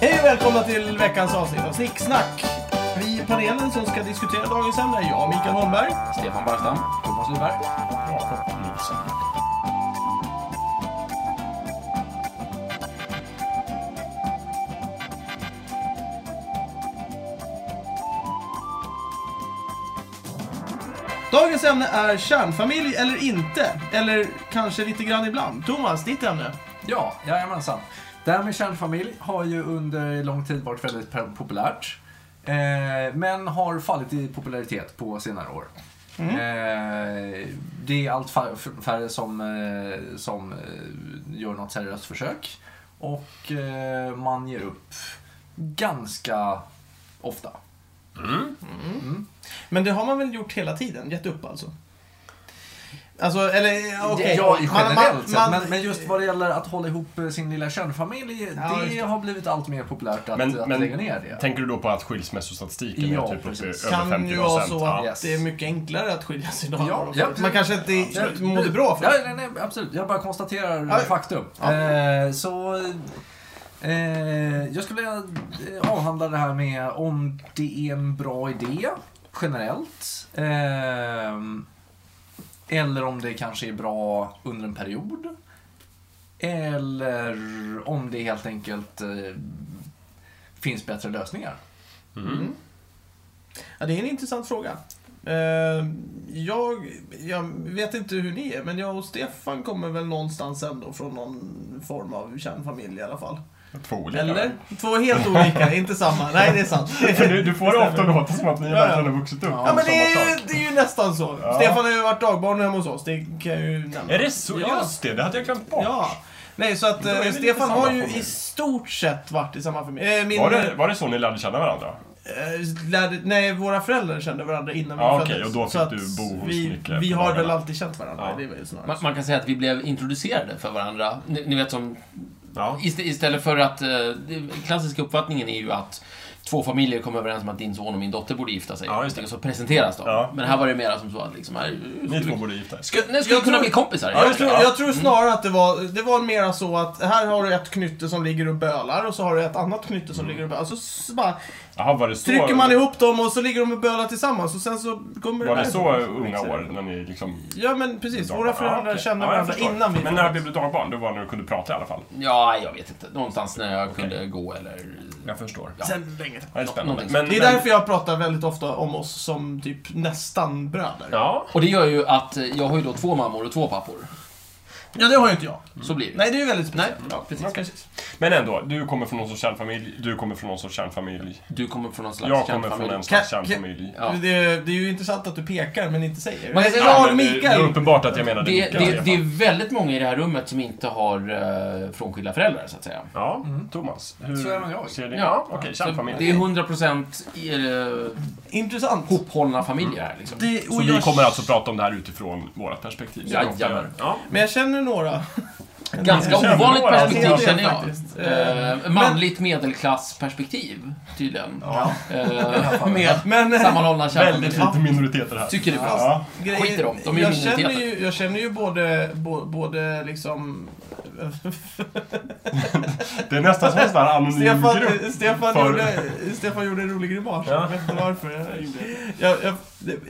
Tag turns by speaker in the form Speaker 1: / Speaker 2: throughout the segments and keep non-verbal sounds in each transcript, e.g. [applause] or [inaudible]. Speaker 1: Hej och välkomna till veckans avsnitt av Snicksnack. Vi i panelen som ska diskutera dagens ämne är jag, Mikael Holmberg.
Speaker 2: Stefan Barstam.
Speaker 1: Thomas Lundberg.
Speaker 2: Jakob Nilsson.
Speaker 1: Dagens ämne är kärnfamilj eller inte. Eller kanske lite grann ibland. Thomas, ditt ämne.
Speaker 2: Ja, jajamensan. Det här med kärnfamilj har ju under lång tid varit väldigt pe- populärt. Eh, men har fallit i popularitet på senare år.
Speaker 1: Mm.
Speaker 2: Eh, det är allt fa- f- färre som, eh, som eh, gör något seriöst försök. Och eh, man ger upp ganska ofta.
Speaker 1: Men det har man väl gjort hela tiden? Gett upp alltså? Alltså, eller ja, okej.
Speaker 2: Ja, i
Speaker 1: Man-
Speaker 2: generellt
Speaker 1: man-
Speaker 2: sett.
Speaker 1: man-
Speaker 2: men, men just vad det gäller att hålla ihop eh, sin lilla kärnfamilj,
Speaker 1: just
Speaker 2: det
Speaker 1: det.
Speaker 2: har blivit allt mer populärt att,
Speaker 3: Men-
Speaker 2: att
Speaker 3: men-
Speaker 2: lägga ner det.
Speaker 3: Tänker du då på att skilsmässostatistiken
Speaker 2: Ja,
Speaker 3: är typ uppe i
Speaker 2: precis.
Speaker 3: över 50%?
Speaker 1: kan ju vara så att
Speaker 3: Ja.
Speaker 2: Yes.
Speaker 1: det är mycket enklare att skiljas idag.
Speaker 2: Ja, ja,
Speaker 1: man
Speaker 2: absolut.
Speaker 1: kanske inte
Speaker 2: Ja,
Speaker 1: ja, mådde bra för
Speaker 2: ja,
Speaker 1: det.
Speaker 2: nej, nej, absolut. Jag bara konstaterar
Speaker 1: Ja.
Speaker 2: faktum.
Speaker 1: Ja.
Speaker 2: Eh, så... Eh, jag skulle eh, avhandla det här med om det är en bra idé, generellt. Ehm, eller om det kanske är bra under en period. Eller om det helt enkelt eh, finns bättre lösningar.
Speaker 1: Mm. Ja, det är en intressant fråga. Eh, jag, jag vet inte hur ni är, men jag och Stefan kommer väl någonstans ändå från någon form av kärnfamilj i alla fall.
Speaker 3: Två olika.
Speaker 1: Eller? Två helt
Speaker 3: [laughs]
Speaker 1: olika, inte samma. Nej, det är sant.
Speaker 3: För du, du får det ofta låta som att ni
Speaker 1: Ja, ja.
Speaker 3: verkligen har vuxit upp
Speaker 2: Ja,
Speaker 1: Ja, men
Speaker 3: samma
Speaker 1: det är,
Speaker 3: sak.
Speaker 1: det är ju nästan så.
Speaker 3: Ja.
Speaker 1: Stefan har ju varit dagbarn hemma hos oss, det kan jag ju nämna.
Speaker 3: Är det så?
Speaker 1: Ja.
Speaker 3: Just det, det hade jag glömt bort.
Speaker 1: Ja. Nej, så att
Speaker 3: Då är
Speaker 1: eh,
Speaker 3: vi lite
Speaker 1: Stefan
Speaker 3: samma
Speaker 1: har ju
Speaker 3: familj.
Speaker 1: i stort sett varit i samma familj. Eh, min,
Speaker 3: Var det, var det så ni lärde känna varandra?
Speaker 1: Eh, lärde, nej, våra föräldrar kände varandra innan vi
Speaker 3: Ja,
Speaker 1: föddes.
Speaker 3: okej, och då
Speaker 1: Så
Speaker 3: fick
Speaker 1: att
Speaker 3: du bo hos
Speaker 1: vi,
Speaker 3: Micke
Speaker 1: vi
Speaker 3: på
Speaker 1: har
Speaker 3: dagarna.
Speaker 1: väl alltid känt varandra.
Speaker 3: Ja.
Speaker 1: Det är väl snarare
Speaker 4: Man,
Speaker 1: så.
Speaker 4: man kan säga att vi blev introducerade för varandra. Ni, ni vet som,
Speaker 3: Ja.
Speaker 4: ist- istället för att... eh, Den klassiska uppfattningen är ju att två familjer kommer överens om att din son och min dotter borde gifta sig.
Speaker 3: Ja, just det.
Speaker 4: Och så presenteras de.
Speaker 3: Ja.
Speaker 4: Men här var det mera som så att liksom... Här,
Speaker 3: Ni två borde gifta er.
Speaker 4: Skulle, nej, skulle
Speaker 1: Jag
Speaker 4: vi kunna
Speaker 1: tror-
Speaker 4: bli kompisar?
Speaker 1: jag, tror,
Speaker 3: ja. Mm.
Speaker 1: jag tror snarare att det var, det var mera så att här har du ett knytte som ligger och bölar och så har du ett annat knytte som ligger och bölar. Så, så bara
Speaker 3: Jaha, var det Mm. så?
Speaker 1: trycker man ihop dem och så ligger de och bölar tillsammans och sen så kommer
Speaker 3: Var det
Speaker 1: där.
Speaker 3: så unga år? När ni liksom...
Speaker 1: Ja men precis, våra
Speaker 3: Ja,
Speaker 1: föräldrar
Speaker 3: okej.
Speaker 1: kände
Speaker 3: Ja, jag
Speaker 1: varandra
Speaker 3: förstår.
Speaker 1: innan vi
Speaker 3: Men när blev du dagbarn? Då var det när du kunde prata i alla fall.
Speaker 4: Ja, jag vet inte. Någonstans när jag kunde gå eller...
Speaker 3: Jag förstår.
Speaker 4: Ja.
Speaker 1: Sen länge
Speaker 3: Det är spännande.
Speaker 4: Någonting
Speaker 3: Men,
Speaker 1: Det är
Speaker 3: men-
Speaker 1: därför jag pratar väldigt ofta om oss som typ nästan bröder.
Speaker 3: Ja.
Speaker 4: Och det gör ju att eh, jag har ju då två mammor och två pappor.
Speaker 1: Ja, det har ju inte jag.
Speaker 3: Mm.
Speaker 4: Så blir det.
Speaker 1: Nej, det är ju väldigt
Speaker 4: Nej,
Speaker 1: speciellt.
Speaker 4: ja, precis.
Speaker 3: Okej. Men ändå, du kommer från någon sorts kärnfamilj, du kommer från någon sorts kärnfamilj.
Speaker 4: Du kommer från någon slags
Speaker 3: Jag kommer
Speaker 4: kärnfamilj.
Speaker 3: från en slags
Speaker 1: Kan- kan-
Speaker 3: kärnfamilj.
Speaker 4: Ja.
Speaker 1: Det, det är ju intressant att du pekar men inte säger.
Speaker 4: Man kan säga-
Speaker 1: Bra,
Speaker 3: men det- Det är
Speaker 1: Mikael!
Speaker 3: uppenbart att jag menade
Speaker 4: Det,
Speaker 3: Mikael. i alla
Speaker 4: det,
Speaker 3: fall.
Speaker 4: det är väldigt många i det här rummet som inte har eh, frånskilda föräldrar, så att säga.
Speaker 3: Ja, Thomas. Hur
Speaker 2: Så även jag.
Speaker 3: ser det
Speaker 4: Ja,
Speaker 3: Mm. Okej,
Speaker 4: Så
Speaker 3: kärnfamilj.
Speaker 4: Det är 100% i, eh,
Speaker 1: Intressant.
Speaker 4: hophållna familjer här liksom.
Speaker 1: Det, och
Speaker 3: Så vi
Speaker 1: jag-
Speaker 3: kommer alltså prata om det här utifrån vårt perspektiv. som vi ofta
Speaker 4: Jajamän.
Speaker 3: gör. Ja.
Speaker 1: Men jag känner några.
Speaker 4: Ganska
Speaker 3: känner
Speaker 4: ovanligt
Speaker 3: några,
Speaker 4: perspektiv
Speaker 1: alltså.
Speaker 4: känner
Speaker 1: Det är
Speaker 4: jag.
Speaker 1: faktiskt.
Speaker 4: Eh,
Speaker 1: Eh,
Speaker 4: manligt medelklassperspektiv, tydligen.
Speaker 1: Ja. [laughs]
Speaker 4: Eh, med
Speaker 1: Men...
Speaker 4: sammanhållna
Speaker 3: Väldigt
Speaker 4: kärnfamiljer.
Speaker 3: lite minoriteter här.
Speaker 4: Tycker det är bra.
Speaker 3: ja.
Speaker 1: grejer-
Speaker 4: skit i dem. De är ju
Speaker 1: jag,
Speaker 4: minoriteter.
Speaker 1: känner ju, jag känner ju både, bo, både liksom...
Speaker 3: Det är nästan som en sån här anonym
Speaker 1: Stefan,
Speaker 3: grupp.
Speaker 1: Stefan,
Speaker 3: för-
Speaker 1: gjorde, Stefan gjorde en rolig grimas.
Speaker 3: Ja.
Speaker 1: Jag vet inte varför. Jag, gjorde det. jag, jag,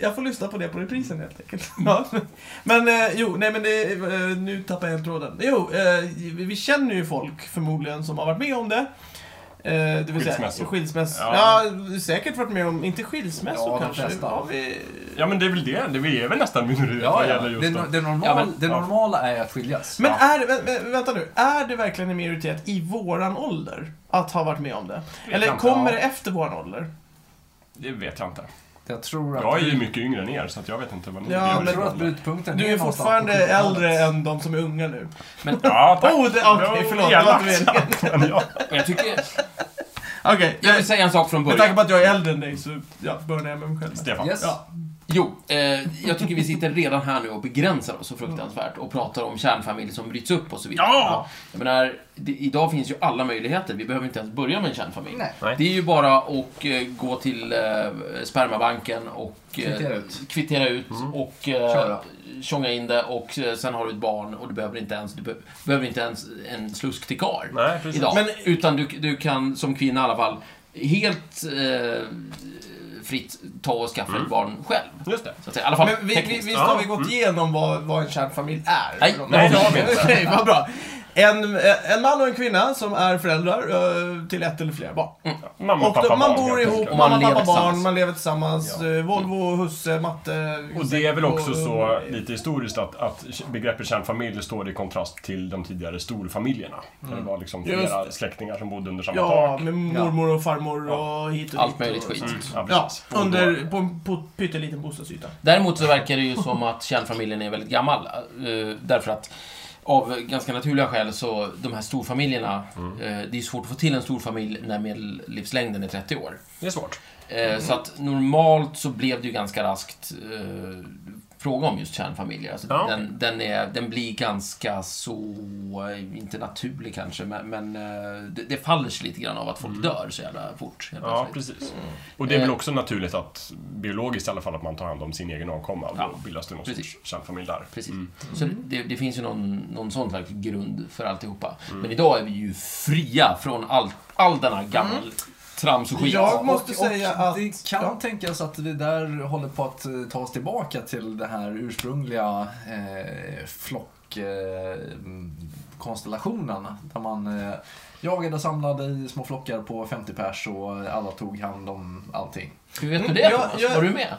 Speaker 1: jag får lyssna på det på reprisen helt enkelt.
Speaker 3: Mm.
Speaker 1: Ja. Men eh, jo, nej men det, eh, nu tappar jag helt tråden. Jo, eh, vi vi känner ju folk förmodligen som har varit med om det. Eh, det vill
Speaker 3: Skilsmässor.
Speaker 1: Säga, skilsmässor. Ja.
Speaker 3: Ja.
Speaker 1: säkert varit med om, inte skilsmässor
Speaker 2: Ja, de
Speaker 1: kanske.
Speaker 2: flesta.
Speaker 1: Ja, vi,
Speaker 3: Ja men det är väl det, det vi är väl nästan minoriteter vad gäller just
Speaker 2: Det,
Speaker 3: det.
Speaker 2: det, normal,
Speaker 4: Ja, men-
Speaker 2: det normala är att skiljas.
Speaker 1: Men
Speaker 2: Ja.
Speaker 1: är, vä- vä- vänta nu, är det verkligen en minoritet i våran ålder att ha varit med om det? Eller
Speaker 3: jag inte.
Speaker 1: kommer
Speaker 2: Ja.
Speaker 1: det efter våran ålder?
Speaker 3: Det vet jag inte.
Speaker 2: Jag tror att...
Speaker 3: Jag är ju mycket yngre än er så att jag vet inte vad ni
Speaker 1: Ja,
Speaker 3: gör.
Speaker 1: men-
Speaker 2: Jag tror att brytpunkten
Speaker 1: Du är
Speaker 2: någonstans på
Speaker 1: fortfarande
Speaker 2: 70-talet.
Speaker 1: äldre än de som är unga nu.
Speaker 3: Ja,
Speaker 1: [laughs]
Speaker 3: tack.
Speaker 1: Oh, det, okej,
Speaker 3: Det var
Speaker 1: förlåt. Det var inte
Speaker 3: elakt.
Speaker 1: meningen.
Speaker 3: Men [laughs] ja.
Speaker 4: Men Jag, tycker,
Speaker 1: Okej,
Speaker 4: jag vill
Speaker 1: okay,
Speaker 4: säga en sak från
Speaker 1: med tanke
Speaker 4: början.
Speaker 1: på att jag är äldre än dig så ja, börjar jag med mig själv.
Speaker 3: Stefan.
Speaker 2: Yes.
Speaker 1: Ja.
Speaker 4: Jo, eh, jag tycker vi sitter redan här nu och begränsar oss så fruktansvärt och pratar om kärnfamilj som bryts upp och så vidare.
Speaker 3: Ja!
Speaker 4: Jag menar, det, idag finns ju alla möjligheter. Vi behöver inte ens börja med en kärnfamilj.
Speaker 2: Nej.
Speaker 3: Nej.
Speaker 4: Det är ju bara att eh, gå till eh, spermabanken och eh,
Speaker 2: Kvittera ut.
Speaker 4: kvittera ut
Speaker 3: Mm.
Speaker 4: och eh,
Speaker 2: Köra.
Speaker 4: tjonga in det och eh, sen har du ett barn och du behöver inte ens, du be, behöver inte ens en slusk till karl
Speaker 3: Nej, precis.
Speaker 4: idag.
Speaker 1: Men-
Speaker 4: Utan du, du kan som kvinna i alla fall helt eh, fritt ta och skaffa
Speaker 3: Mm.
Speaker 4: ett barn själv.
Speaker 3: Just det.
Speaker 4: Så att säga. I alla fall
Speaker 1: Men vi, vi,
Speaker 4: tekniskt.
Speaker 1: visst har vi
Speaker 3: Ja, Mm.
Speaker 1: gått igenom vad, vad en kärnfamilj är?
Speaker 4: Nej,
Speaker 1: För de-
Speaker 3: nej, det har vi inte.
Speaker 1: [laughs] Okej, vad bra. En, eh, en man och en kvinna som är föräldrar eh, till ett eller flera barn.
Speaker 3: Mamma
Speaker 1: Och
Speaker 3: och Mm. pappa
Speaker 1: de, man
Speaker 3: barn,
Speaker 1: bor
Speaker 3: helt
Speaker 1: ihop,
Speaker 3: enkelt.
Speaker 4: Och
Speaker 1: man
Speaker 4: man
Speaker 1: mamma,
Speaker 4: lever
Speaker 1: pappa, barn,
Speaker 4: tillsammans.
Speaker 1: man lever tillsammans. eh, Volvo, husse, matte.
Speaker 3: Och det är väl också
Speaker 1: och-
Speaker 3: så, lite historiskt, att, att begreppet kärnfamilj står i kontrast till de tidigare storfamiljerna. Där det var liksom
Speaker 1: Just
Speaker 3: flera
Speaker 1: det.
Speaker 3: släktingar som bodde under samma
Speaker 1: Ja,
Speaker 3: tak.
Speaker 1: med mormor och farmor och hit och dit.
Speaker 4: Allt möjligt
Speaker 1: och-
Speaker 4: skit.
Speaker 3: Mm, ja,
Speaker 1: Ja,
Speaker 3: precis. Och då-
Speaker 1: under, på en på en pytteliten bostadsyta.
Speaker 4: Däremot så verkar det ju som att kärnfamiljen är väldigt gammal. eh, Därför att av ganska naturliga skäl så, de här storfamiljerna,
Speaker 3: Mm.
Speaker 4: eh, det är svårt att få till en storfamilj när medellivslängden är 30 år.
Speaker 3: Det är svårt.
Speaker 4: Eh,
Speaker 3: Mm.
Speaker 4: Så att normalt så blev det ju ganska raskt eh, fråga om just kärnfamiljer. Alltså
Speaker 3: Ja.
Speaker 4: den, den, är, den blir ganska så, eh, inte naturlig kanske, men, men eh, det, det faller sig lite grann av att folk dör så jävla fort. helt
Speaker 3: Mm. Ja,
Speaker 4: plötsligt.
Speaker 3: precis. Och det är väl
Speaker 4: Eh.
Speaker 3: också naturligt att, biologiskt i alla fall, att man tar hand om sin egen avkomma. Och
Speaker 4: Ja,
Speaker 3: då bildas det någon
Speaker 4: precis.
Speaker 3: sorts kärnfamilj där.
Speaker 4: Precis. Så det, det finns ju någon, någon sån slags grund för alltihopa. Men idag är vi ju fria från all, all denna gammal
Speaker 1: Mm.
Speaker 4: trams och skit.
Speaker 1: Jag måste säga att...
Speaker 2: Det kan
Speaker 1: ja.
Speaker 2: tänkas att vi där håller på att eh, ta oss tillbaka till det här ursprungliga eh, flockkonstellationen. där man eh, jagade och samlade i små flockar på 50 pers och alla tog hand om allting.
Speaker 4: Hur vet du det
Speaker 1: Mm, jag-
Speaker 4: Thomas?
Speaker 1: jag-
Speaker 4: Var du med?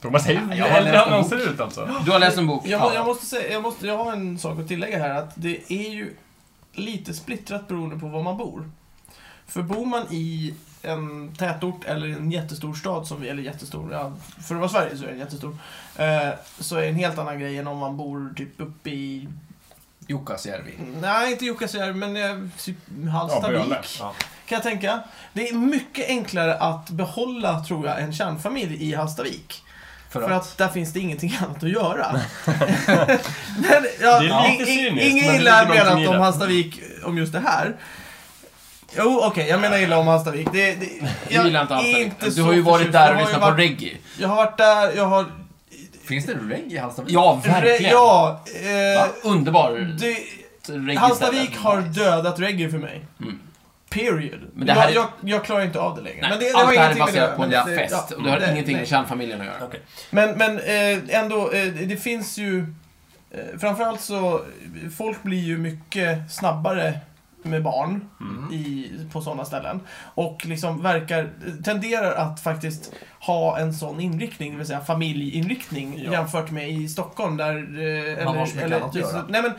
Speaker 3: Thomas, säg
Speaker 2: jag har läst
Speaker 3: hur
Speaker 2: en
Speaker 3: han
Speaker 2: bok.
Speaker 3: ser ut alltså.
Speaker 4: Du har läst en bok?
Speaker 1: Jag, må- jag måste säga, jag, måste, jag har en sak att tillägga här. Att det är ju lite splittrat beroende på var man bor. För bor man i en tätort eller en jättestor stad som vi, eller jättestor, ja, för att vara Sverige så är den jättestor. Eh, så är det en helt annan grej än om man bor typ uppe i,
Speaker 2: Jukkasjärvi.
Speaker 1: nej inte Jukkasjärvi men eh, typ Hallstavik.
Speaker 3: Böle. Ja.
Speaker 1: kan jag tänka. Det är mycket enklare att behålla, tror jag, en kärnfamilj i Hallstavik.
Speaker 2: För
Speaker 1: För
Speaker 2: att-
Speaker 1: att där finns det ingenting [laughs] annat att göra. [laughs] men, ja,
Speaker 3: Det är lite
Speaker 1: i- i-
Speaker 3: cyniskt, men
Speaker 1: Inget
Speaker 3: det
Speaker 1: illa
Speaker 3: ligger någonting i
Speaker 1: menat om
Speaker 3: det.
Speaker 1: Hallstavik, om just det här. Jo, okej, jag menar illa om Hallstavik. Det, det,
Speaker 4: jag
Speaker 1: jag
Speaker 4: gillar inte
Speaker 1: är
Speaker 4: alls det. Du
Speaker 1: så
Speaker 4: har ju varit
Speaker 1: förtjust.
Speaker 4: där
Speaker 1: Jag
Speaker 4: och
Speaker 1: har ju
Speaker 4: lyssnat på
Speaker 1: varit-
Speaker 4: reggae.
Speaker 1: Jag har varit där, jag har...
Speaker 2: Finns det reggae i Hallstavik?
Speaker 4: Ja, verkligen.
Speaker 1: Ja,
Speaker 4: Va?
Speaker 1: eh,
Speaker 4: Underbar
Speaker 1: det,
Speaker 4: reggae
Speaker 1: Hallstavik
Speaker 4: ställe.
Speaker 1: har dödat reggae för mig.
Speaker 4: Mm.
Speaker 1: Period.
Speaker 4: Men det här-
Speaker 1: jag, jag, jag klarar inte av det längre.
Speaker 4: Nej,
Speaker 1: men det, det
Speaker 4: allt
Speaker 1: har
Speaker 4: det här är
Speaker 1: ingenting med
Speaker 4: baserat
Speaker 1: det,
Speaker 4: på en
Speaker 1: men
Speaker 4: jävla
Speaker 1: det-
Speaker 4: fest.
Speaker 1: ja,
Speaker 4: och det har
Speaker 1: det-
Speaker 4: ingenting
Speaker 1: nej.
Speaker 4: med kärnfamiljen att göra.
Speaker 3: Okej.
Speaker 1: Men, men eh, ändå, eh, det finns ju... Eh, framförallt så, folk blir ju mycket snabbare med barn
Speaker 2: Mm.
Speaker 1: i, på sådana ställen. Och liksom verkar, tenderar att faktiskt ha en sån inriktning, det vill säga familjeinriktning
Speaker 3: Ja.
Speaker 1: jämfört med i Stockholm där... Eh,
Speaker 2: Man har så mycket annat att göra.
Speaker 1: Nej men,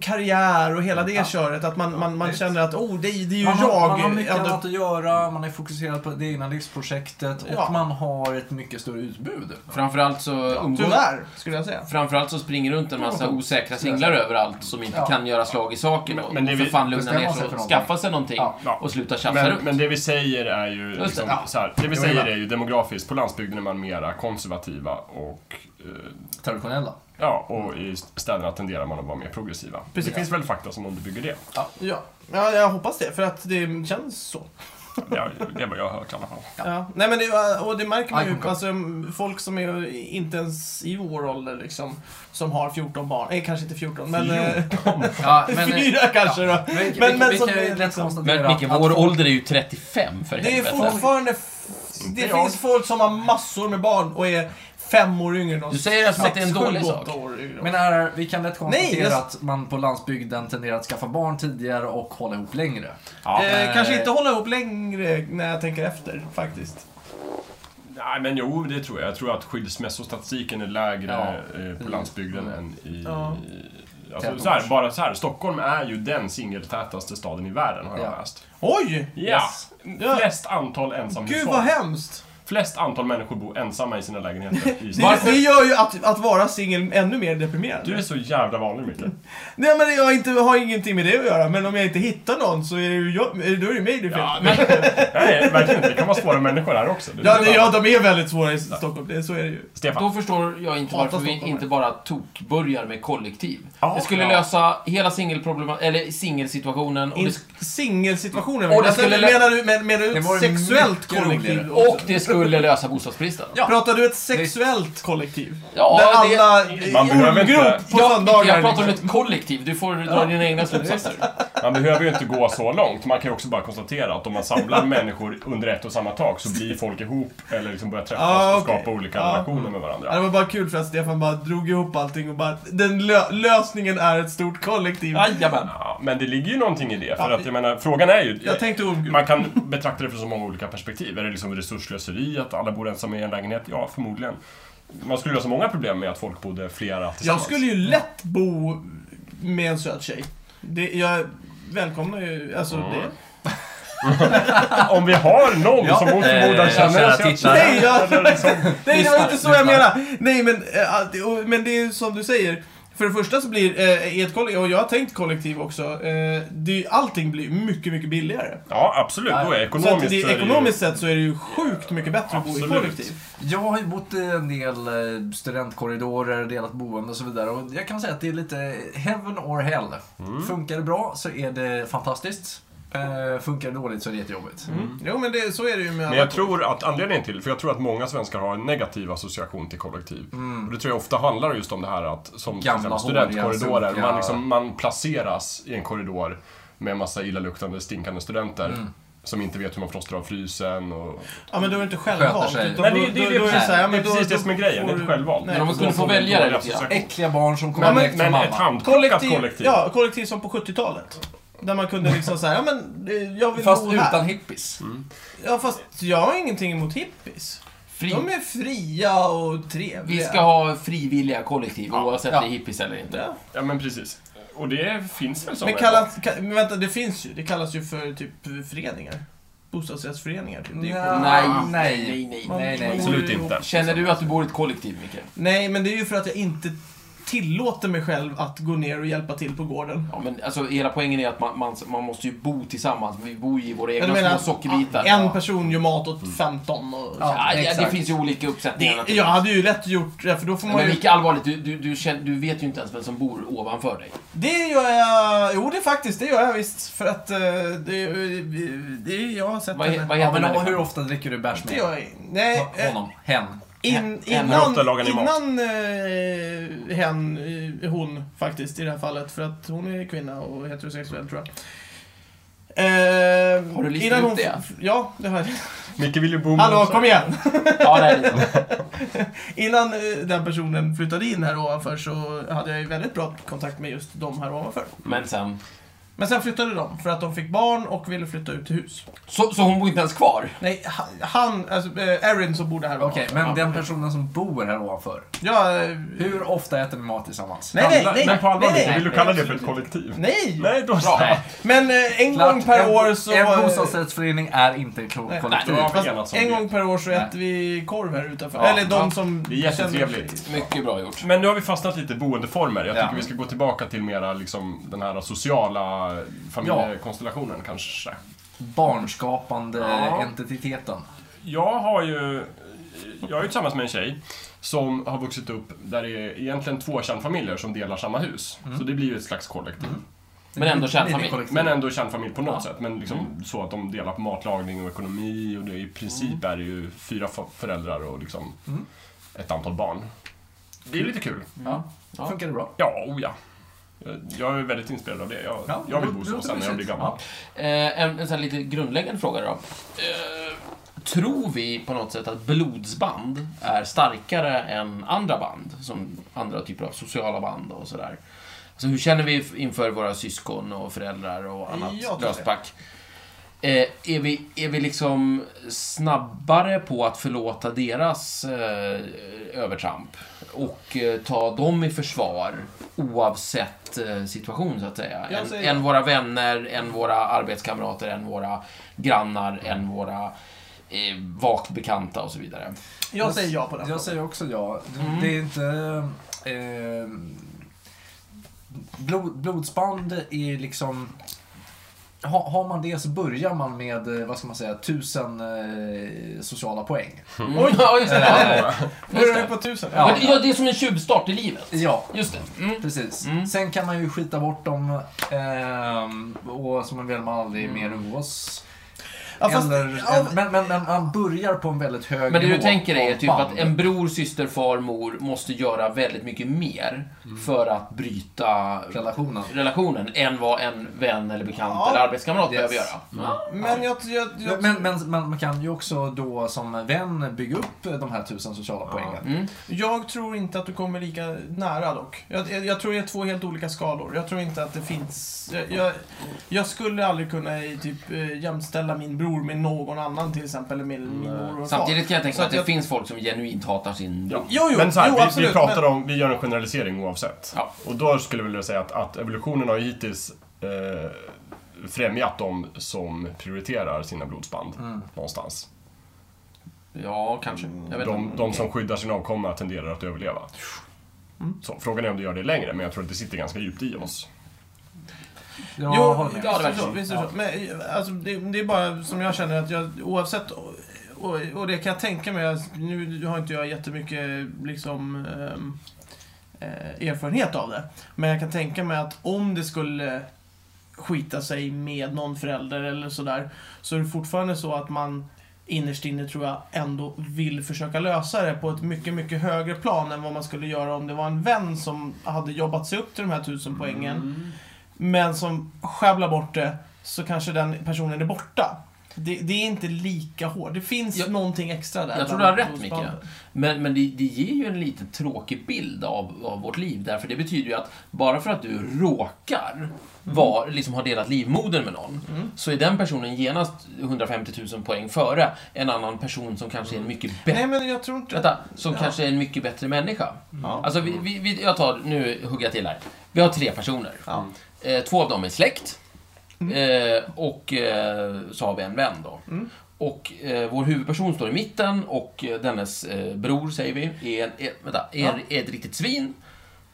Speaker 1: karriär och hela det
Speaker 2: Ja.
Speaker 1: köret. Att man, man, man
Speaker 2: visst.
Speaker 1: känner att oh, det, är- det är ju
Speaker 2: Man
Speaker 1: jag.
Speaker 2: har, man har mycket
Speaker 1: ändå-
Speaker 2: annat att göra, man är fokuserad på det egna livsprojektet och
Speaker 1: Ja.
Speaker 2: man har ett mycket större utbud.
Speaker 4: Framförallt så umgås...
Speaker 1: Tyvärr, skulle jag säga.
Speaker 4: Framförallt så springer runt en massa osäkra singlar överallt som inte
Speaker 2: Ja.
Speaker 4: kan göra slag i saken.
Speaker 3: Men-
Speaker 4: och
Speaker 3: men det
Speaker 4: och
Speaker 3: vi-
Speaker 4: för fan lugna
Speaker 2: bestämma
Speaker 4: ner
Speaker 2: sig
Speaker 4: sig
Speaker 2: för
Speaker 4: och
Speaker 2: någonting.
Speaker 4: skaffa sig någonting.
Speaker 2: Ja.
Speaker 3: Ja.
Speaker 4: Och sluta tjafsa
Speaker 3: Men,
Speaker 4: runt.
Speaker 3: men det vi säger är ju
Speaker 4: det,
Speaker 3: liksom,
Speaker 4: ja.
Speaker 3: så här, det vi
Speaker 2: Jag
Speaker 3: säger
Speaker 2: menar.
Speaker 3: är ju demografiskt, på landsbygden är man mera konservativa och eh,
Speaker 2: [laughs] Traditionella.
Speaker 3: Ja, och i städerna tenderar man att vara mer progressiva.
Speaker 1: Precis.
Speaker 3: Det finns väl fakta som underbygger det.
Speaker 1: Ja. ja, jag hoppas det, för att det känns så.
Speaker 3: Det är- det är vad jag har hört i alla fall.
Speaker 1: Ja. Nej, men det, och det märker man ju.
Speaker 2: Icon Cup.
Speaker 1: Alltså, folk som är inte ens i vår ålder liksom, som har 14 barn. Nej, kanske inte 14, men... eh, [laughs]
Speaker 2: Ja,
Speaker 1: Fyra
Speaker 4: eh,
Speaker 1: kanske då.
Speaker 2: Men, vi-
Speaker 1: Men-
Speaker 2: vi-
Speaker 1: men
Speaker 2: vi
Speaker 1: som
Speaker 2: kan ju
Speaker 1: är
Speaker 2: lätt
Speaker 1: liksom-
Speaker 2: konstatera
Speaker 4: Men Micke,
Speaker 2: att
Speaker 4: vår
Speaker 2: folk-
Speaker 4: ålder är ju 35 för
Speaker 1: Det är
Speaker 4: helvete.
Speaker 1: fortfarande... f- Det
Speaker 3: jag.
Speaker 1: finns folk som har massor med barn och är fem år yngre än oss.
Speaker 4: Du säger det som att det är en
Speaker 1: Sex, sju,
Speaker 4: dålig sak.
Speaker 1: åtta år yngre.
Speaker 2: Men är, vi kan lätt konstatera
Speaker 1: jag-
Speaker 2: att man på landsbygden tenderar att skaffa barn tidigare och hålla ihop längre.
Speaker 3: Ja.
Speaker 1: eh,
Speaker 2: eh,
Speaker 1: kanske inte hålla ihop längre när jag tänker efter, faktiskt.
Speaker 3: Nej, men jo, det tror jag. Jag tror att skilsmässostatistiken är lägre
Speaker 2: Ja.
Speaker 3: eh, på landsbygden
Speaker 2: Mm.
Speaker 3: än i...
Speaker 1: Ja.
Speaker 3: Alltså, så här, bara så här, Stockholm är ju den singeltätaste staden i världen, har jag
Speaker 2: Ja.
Speaker 3: läst.
Speaker 1: Oj!
Speaker 3: Ja!
Speaker 2: Yes.
Speaker 3: Flest antal ensamhushåll.
Speaker 1: Gud vad hemskt!
Speaker 3: flest antal människor bo ensamma i sina lägenheter
Speaker 1: [laughs]
Speaker 3: i
Speaker 1: Det,
Speaker 3: Sverige.
Speaker 1: det gör ju att, att vara singel ännu mer deprimerande.
Speaker 3: Du är så jävla vanlig, Mikael.
Speaker 1: Nej men jag har, inte, har ingenting med det att göra, men om jag inte hittar någon så är det ju jag, då är det mig det är fel
Speaker 3: Ja,
Speaker 1: på.
Speaker 3: men, nej, verkligen inte. Det kan vara svåra människor här också. Det-
Speaker 1: Ja, det, ja, de är väldigt svåra i Stockholm, det, så är det ju.
Speaker 3: Stefan.
Speaker 4: Då förstår jag inte
Speaker 1: Hatar
Speaker 4: varför vi
Speaker 1: stockholmare.
Speaker 4: inte bara tokbörjar med kollektiv.
Speaker 3: Ja,
Speaker 4: det skulle
Speaker 3: ja.
Speaker 4: lösa hela singelproblem- eller singelsituationen och,
Speaker 1: In,
Speaker 4: det, sk-
Speaker 1: singelsituationen.
Speaker 4: Och det
Speaker 1: Alltså,
Speaker 4: skulle-
Speaker 1: menar du, men, menar du
Speaker 2: Det var
Speaker 1: ett
Speaker 2: ju
Speaker 1: sexuellt
Speaker 2: mycket
Speaker 1: kollektiv?
Speaker 2: roligare.
Speaker 4: och det skulle lösa bostadsbristen.
Speaker 2: Ja.
Speaker 1: Pratar du ett sexuellt kollektiv?
Speaker 4: Ja,
Speaker 1: Där
Speaker 4: det-
Speaker 1: alla i
Speaker 3: Man behöver inte-
Speaker 1: ormgrop på
Speaker 4: Jag, jag
Speaker 1: söndagar.
Speaker 4: pratar om
Speaker 1: liksom.
Speaker 4: ett kollektiv, du får dra dina egna slutsatser.
Speaker 3: Man behöver ju inte gå så långt. Man kan ju också bara konstatera att om
Speaker 1: [laughs]
Speaker 3: man samlar människor under ett och samma tak så blir folk ihop eller liksom börjar träffas
Speaker 1: Ah,
Speaker 3: och
Speaker 1: okej.
Speaker 3: skapa olika
Speaker 1: Ja.
Speaker 3: relationer med varandra.
Speaker 1: Ja, det var bara kul för att Stefan bara drog ihop allting och bara den lö lösningen är ett stort kollektiv.
Speaker 4: Jajamän.
Speaker 3: Ja, men det ligger ju någonting i det. För
Speaker 1: Ja,
Speaker 3: att jag menar, frågan är ju...
Speaker 1: Jag tänkte ormgrop.
Speaker 3: Man kan betrakta det från så många olika perspektiv. Är det liksom resurslöseri att alla bor ensamma i en lägenhet? Ja, förmodligen. Man skulle lösa många problem med att folk bodde flera
Speaker 1: Jag
Speaker 3: tillsammans.
Speaker 1: skulle ju lätt bo med en söt tjej. Det, jag välkomnar ju alltså det.
Speaker 3: Om vi har någon som mot förmodan känner
Speaker 5: Eh, kära
Speaker 3: sig...
Speaker 5: tittare.
Speaker 1: Nej, jag,
Speaker 3: Eller liksom,
Speaker 1: nej, det var inte så jag
Speaker 5: lyssna.
Speaker 1: menar. Nej, men, eh, allt- och- men det är ju som du säger. För det första så blir eh, i ett kollektiv, och jag har tänkt kollektiv också, eh, det, är ju- allting blir mycket, mycket billigare.
Speaker 3: ja, absolut. Då är
Speaker 1: Så att
Speaker 3: ekonomiskt...
Speaker 1: det,
Speaker 3: så är det ju-
Speaker 1: ekonomiskt sett så är det ju sjukt mycket bättre att bo i
Speaker 3: Absolut.
Speaker 1: kollektiv.
Speaker 2: Jag har ju bott i en del eh, studentkorridorer, delat boende och så vidare. Och jag kan säga att det är lite heaven or hell. Funkar det bra så är det fantastiskt. Eh, funkar det dåligt så är det jättejobbigt.
Speaker 1: Jo, men det, så är det ju med
Speaker 3: Mm. Men
Speaker 1: alla.
Speaker 3: jag tror att anledningen till, för jag tror att många svenskar har en negativ association till kollektiv.
Speaker 1: Mm.
Speaker 3: Och det tror jag ofta handlar just om det här att, som till
Speaker 2: Gamla,
Speaker 3: exempel
Speaker 2: håriga,
Speaker 3: studentkorridorer,
Speaker 2: sunkiga-
Speaker 3: man, liksom, man placeras i en korridor med massa illaluktande, stinkande studenter. Som inte vet hur man frostar av frysen och...
Speaker 1: Ja, Mm. men då är det inte
Speaker 2: Sköter
Speaker 1: självvalt.
Speaker 2: sig.
Speaker 1: utan
Speaker 3: Nej, det-
Speaker 1: då-
Speaker 3: det är
Speaker 1: då-
Speaker 3: det
Speaker 1: då
Speaker 3: precis-
Speaker 1: så här, ja,
Speaker 3: det är
Speaker 1: men då-
Speaker 3: precis det som är
Speaker 1: då
Speaker 3: grejen,
Speaker 1: får
Speaker 3: det är ett
Speaker 1: du-
Speaker 3: självval.
Speaker 1: Nej.
Speaker 4: Men om man skulle
Speaker 3: Då
Speaker 4: få
Speaker 3: får man
Speaker 4: välja det
Speaker 3: dåliga
Speaker 4: lite grann.
Speaker 3: associationer.
Speaker 2: Äckliga barn som kommer
Speaker 1: Ja, men-
Speaker 2: direkt från
Speaker 3: Men ett
Speaker 2: mamma.
Speaker 3: handplockat
Speaker 1: Kollektiv,
Speaker 3: kollektiv.
Speaker 1: Ja, kollektiv som på 70-talet. Där man kunde liksom säga, ja men eh, jag vill
Speaker 4: Fast
Speaker 1: bo här.
Speaker 4: utan hippies.
Speaker 2: Mm.
Speaker 1: Ja, fast jag har ingenting emot hippies.
Speaker 4: Fri.
Speaker 1: De är fria och trevliga.
Speaker 4: Vi ska ha frivilliga kollektiv oavsett
Speaker 2: Ja.
Speaker 4: det är hippies eller inte.
Speaker 1: Ja.
Speaker 3: Ja, men precis. Och det finns väl sådana
Speaker 1: Men, kallas, ka, men vänta, det finns ju. Det kallas ju för typ föreningar. Bostadsrättsföreningar. Typ. Det är ju
Speaker 2: Nej.
Speaker 1: kollektiv.
Speaker 4: Nej,
Speaker 2: Ah,
Speaker 4: nej,
Speaker 2: nej.
Speaker 4: nej, nej.
Speaker 1: Man-
Speaker 2: nej, nej.
Speaker 1: man bor
Speaker 3: Absolut
Speaker 1: ihop.
Speaker 3: inte.
Speaker 4: Känner du att du bor i ett kollektiv, Micke?
Speaker 1: Nej, men det är ju för att jag inte tillåter mig själv att gå ner och hjälpa till på gården.
Speaker 4: Ja, men alltså, hela poängen är att man, man, man måste ju bo tillsammans. Vi bor ju i våra egna
Speaker 1: Jag menar,
Speaker 4: små sockerbitar. Mm.
Speaker 1: En person gör mat åt 15 och...
Speaker 2: Ja.
Speaker 4: Ja, ja, det
Speaker 2: exakt.
Speaker 4: finns ju olika uppsättningar.
Speaker 1: Det,
Speaker 4: naturligtvis.
Speaker 1: jag hade ju lätt gjort det, för då får man
Speaker 4: Men
Speaker 1: ju...
Speaker 4: Micke, allvarligt, du, du, du, känner, du vet ju inte ens vem som bor ovanför dig.
Speaker 1: Det gör jag... Jo, det faktiskt. Det gör jag visst. För att eh, det... det jag har sett
Speaker 4: Vad, he- vad
Speaker 1: henne.
Speaker 4: heter
Speaker 2: Ja, men
Speaker 4: människan?
Speaker 2: hur ofta dricker du bärs
Speaker 1: Det
Speaker 2: med
Speaker 1: gör jag Nej. eh,
Speaker 2: honom? Hen?
Speaker 1: In,
Speaker 4: Hen.
Speaker 3: Hur
Speaker 1: innan
Speaker 3: ofta lagar ni mat?
Speaker 1: innan eh, hen, eh, hon faktiskt i det här fallet. För att hon är kvinna och heterosexuell tror jag. Eh,
Speaker 4: Har du listat
Speaker 1: innan
Speaker 4: ut
Speaker 1: hon-
Speaker 4: det?
Speaker 1: Ja, det har jag.
Speaker 3: Micke vill ju bo med
Speaker 1: Hallå,
Speaker 3: oss här.
Speaker 1: kom igen!
Speaker 4: Ja, det är det.
Speaker 1: [laughs] Innan eh, den personen flyttade in här ovanför så hade jag ju väldigt bra kontakt med just de här ovanför.
Speaker 4: Men sen...
Speaker 1: Men sen flyttade de för att de fick barn och ville flytta ut till hus.
Speaker 4: Så, så hon bor inte ens kvar?
Speaker 1: Nej, han- han, alltså eh, Erin som bodde här
Speaker 2: Okej,
Speaker 1: ovanför.
Speaker 2: men den personen som bor här ovanför.
Speaker 1: Ja, eh,
Speaker 2: Hur ofta äter ni mat tillsammans?
Speaker 1: nej, nej, nej,
Speaker 3: Men på allvar,
Speaker 1: nej,
Speaker 3: Micke,
Speaker 1: nej,
Speaker 3: vill du kalla det för ett kollektiv?
Speaker 1: nej.
Speaker 3: Nej, då så.
Speaker 2: Nej.
Speaker 1: Men eh, en
Speaker 2: Klart,
Speaker 1: gång per
Speaker 2: en,
Speaker 1: år så...
Speaker 2: En
Speaker 1: eh,
Speaker 2: bostadsrättsförening är inte ett
Speaker 1: Nej.
Speaker 2: kollektiv.
Speaker 3: Nej,
Speaker 1: fast
Speaker 3: enats om
Speaker 1: en
Speaker 3: det.
Speaker 1: gång per år så
Speaker 2: Nej.
Speaker 1: äter vi korv här utanför.
Speaker 4: Ja,
Speaker 1: Eller de
Speaker 4: ja.
Speaker 1: som...
Speaker 3: Det är jättetrevligt.
Speaker 1: känner sig-
Speaker 4: Mycket bra gjort.
Speaker 3: Men nu har vi fastnat lite i boendeformer. Jag tycker
Speaker 2: Ja.
Speaker 3: vi ska gå tillbaka till mera liksom, den här sociala familjekonstellationen kanske.
Speaker 2: Barnskapande
Speaker 3: Ja.
Speaker 2: entiteten.
Speaker 3: Jag har ju... Jag är ju tillsammans med en tjej som har vuxit upp där det är egentligen två kärnfamiljer som delar samma hus. Så det blir ju ett slags kollektiv.
Speaker 4: Men ändå kärnfamilj.
Speaker 2: Minikollektiv.
Speaker 3: Men ändå kärnfamilj på något sätt. Men liksom så att de delar på matlagning och ekonomi och det, i princip är det ju fyra fa- föräldrar och liksom ett antal barn. Det är lite kul.
Speaker 2: Ja.
Speaker 4: Ja.
Speaker 2: Funkar det bra?
Speaker 3: Ja, oh ja. Jag- Jag är väldigt inspirerad av det. Jag,
Speaker 2: Ja,
Speaker 3: jag vill
Speaker 2: det
Speaker 3: bo så
Speaker 2: låter
Speaker 3: sen när jag blir
Speaker 2: mysigt.
Speaker 3: gammal.
Speaker 4: Eh, en, en sån här lite grundläggande fråga då. Eh, tror vi på något sätt att blodsband är starkare än andra band? Som andra typer av sociala band och sådär. Alltså hur känner vi f- inför våra syskon och föräldrar och annat
Speaker 1: Jag tror det.
Speaker 4: löspack? Eh, är, vi, är vi liksom snabbare på att förlåta deras eh, övertramp och eh, ta dem i försvar oavsett eh, situation så att säga?
Speaker 1: Jag
Speaker 4: Än,
Speaker 1: säger-
Speaker 4: än våra vänner, än våra arbetskamrater, än våra grannar, än våra eh, vagt bekanta och så vidare.
Speaker 1: Jag
Speaker 2: s-
Speaker 1: säger ja på den. Mm.
Speaker 2: Jag säger också ja. Det- Det är inte... Eh, blod, blodsband är liksom... Ha, har man det så börjar man med, eh, vad ska man säga, tusen eh, sociala poäng.
Speaker 1: Oj.
Speaker 4: ja, just det. Mm. Ja. Just
Speaker 1: Börjar vi
Speaker 4: det.
Speaker 1: på tusen?
Speaker 2: Ja.
Speaker 4: Men, ja, det är som en tjuvstart i livet.
Speaker 2: Ja,
Speaker 4: Just det. Mm.
Speaker 2: precis.
Speaker 4: Mm.
Speaker 2: Sen kan man ju skita bort dem eh, och som man väl man aldrig mer umgås.
Speaker 1: Ja, fast-
Speaker 2: Eller,
Speaker 1: ja,
Speaker 2: men, men, men man börjar på en väldigt hög
Speaker 4: Men det
Speaker 2: nivå
Speaker 4: du tänker dig är
Speaker 2: av
Speaker 4: typ att
Speaker 2: band.
Speaker 4: en bror, syster, far, mor måste göra väldigt mycket mer för att bryta
Speaker 2: Relationen.
Speaker 4: relationen än vad en vän eller bekant
Speaker 1: Ja.
Speaker 4: eller arbetskamrat
Speaker 2: Yes.
Speaker 4: behöver göra. Ja.
Speaker 1: Men jag... jag, jag
Speaker 2: Men, men men man kan ju också då som vän bygga upp de här tusen sociala poängen.
Speaker 4: Mm.
Speaker 1: Jag tror inte att du kommer lika nära dock. Jag, jag, jag tror det är två helt olika skalor. Jag tror inte att det finns... Jag, jag, jag skulle aldrig kunna eh, typ, eh, jämställa min bror med någon annan till exempel. Eller med min
Speaker 3: Mm.
Speaker 1: mor och far.
Speaker 4: Samtidigt kan jag tänka
Speaker 1: Så
Speaker 4: mig
Speaker 1: att
Speaker 4: att det
Speaker 1: jag-
Speaker 4: finns folk som genuint hatar sin bror.
Speaker 1: Jo, jo,
Speaker 3: men så här,
Speaker 1: jo
Speaker 3: vi,
Speaker 1: absolut.
Speaker 3: vi pratar
Speaker 1: men,
Speaker 3: om, vi gör en generalisering oavsett.
Speaker 4: Ja.
Speaker 3: Och då skulle jag vilja säga att, att evolutionen har ju hittills eh, främjat de som prioriterar sina blodsband
Speaker 1: Mm.
Speaker 3: någonstans.
Speaker 4: Ja, kanske. Jag vet
Speaker 3: De,
Speaker 4: inte.
Speaker 3: de som skyddar sin avkomma tenderar att överleva.
Speaker 1: Mm.
Speaker 3: Så, frågan är om det gör det längre, men jag tror att det sitter ganska djupt i oss.
Speaker 2: Jag
Speaker 1: Jo,
Speaker 2: håller med.
Speaker 4: ja, det
Speaker 1: visst är det så. Visst är det så. Men eh, alltså, det, det är bara som jag känner att jag oavsett... Och, och det kan jag tänka mig. alltså, Nu har inte jag jättemycket liksom... ehm, eh, erfarenhet av det. Men jag kan tänka mig att om det skulle skita sig med någon förälder eller sådär, så är det fortfarande så att man innerst inne tror jag ändå vill försöka lösa det på ett mycket, mycket högre plan än vad man skulle göra om det var en vän som hade jobbat sig upp till de här tusen poängen.
Speaker 4: Mm.
Speaker 1: Men som skäblar bort det, så kanske den personen är borta. Det, det är inte lika hårt. Det finns
Speaker 4: Jag-
Speaker 1: någonting extra där.
Speaker 4: Jag tror du
Speaker 1: bland
Speaker 4: har rätt, Micke.
Speaker 1: blodsbanden.
Speaker 4: Men, men det, det ger ju en lite tråkig bild av, av vårt liv. Därför det betyder ju att bara för att du råkar
Speaker 1: Mm.
Speaker 4: var, liksom ha delat livmodern med någon, så är den personen genast 150 000 poäng före en annan person som kanske är en mycket bättre
Speaker 1: Mm. Nej, men jag tror inte...
Speaker 4: Vänta, som
Speaker 1: Ja. Mm.
Speaker 4: kanske är en mycket bättre människa.
Speaker 1: Ja.
Speaker 4: Alltså, vi, vi, vi, jag tar, nu hugger jag till här. Vi har tre personer.
Speaker 1: Ja. Mm.
Speaker 4: Eh, två av dem är släkt. Eh, och eh, så har vi en vän då. Och eh, vår huvudperson står i mitten och eh, dennes eh, bror, säger vi, är, en, är, vänta, är,
Speaker 1: Ja.
Speaker 4: är ett riktigt svin.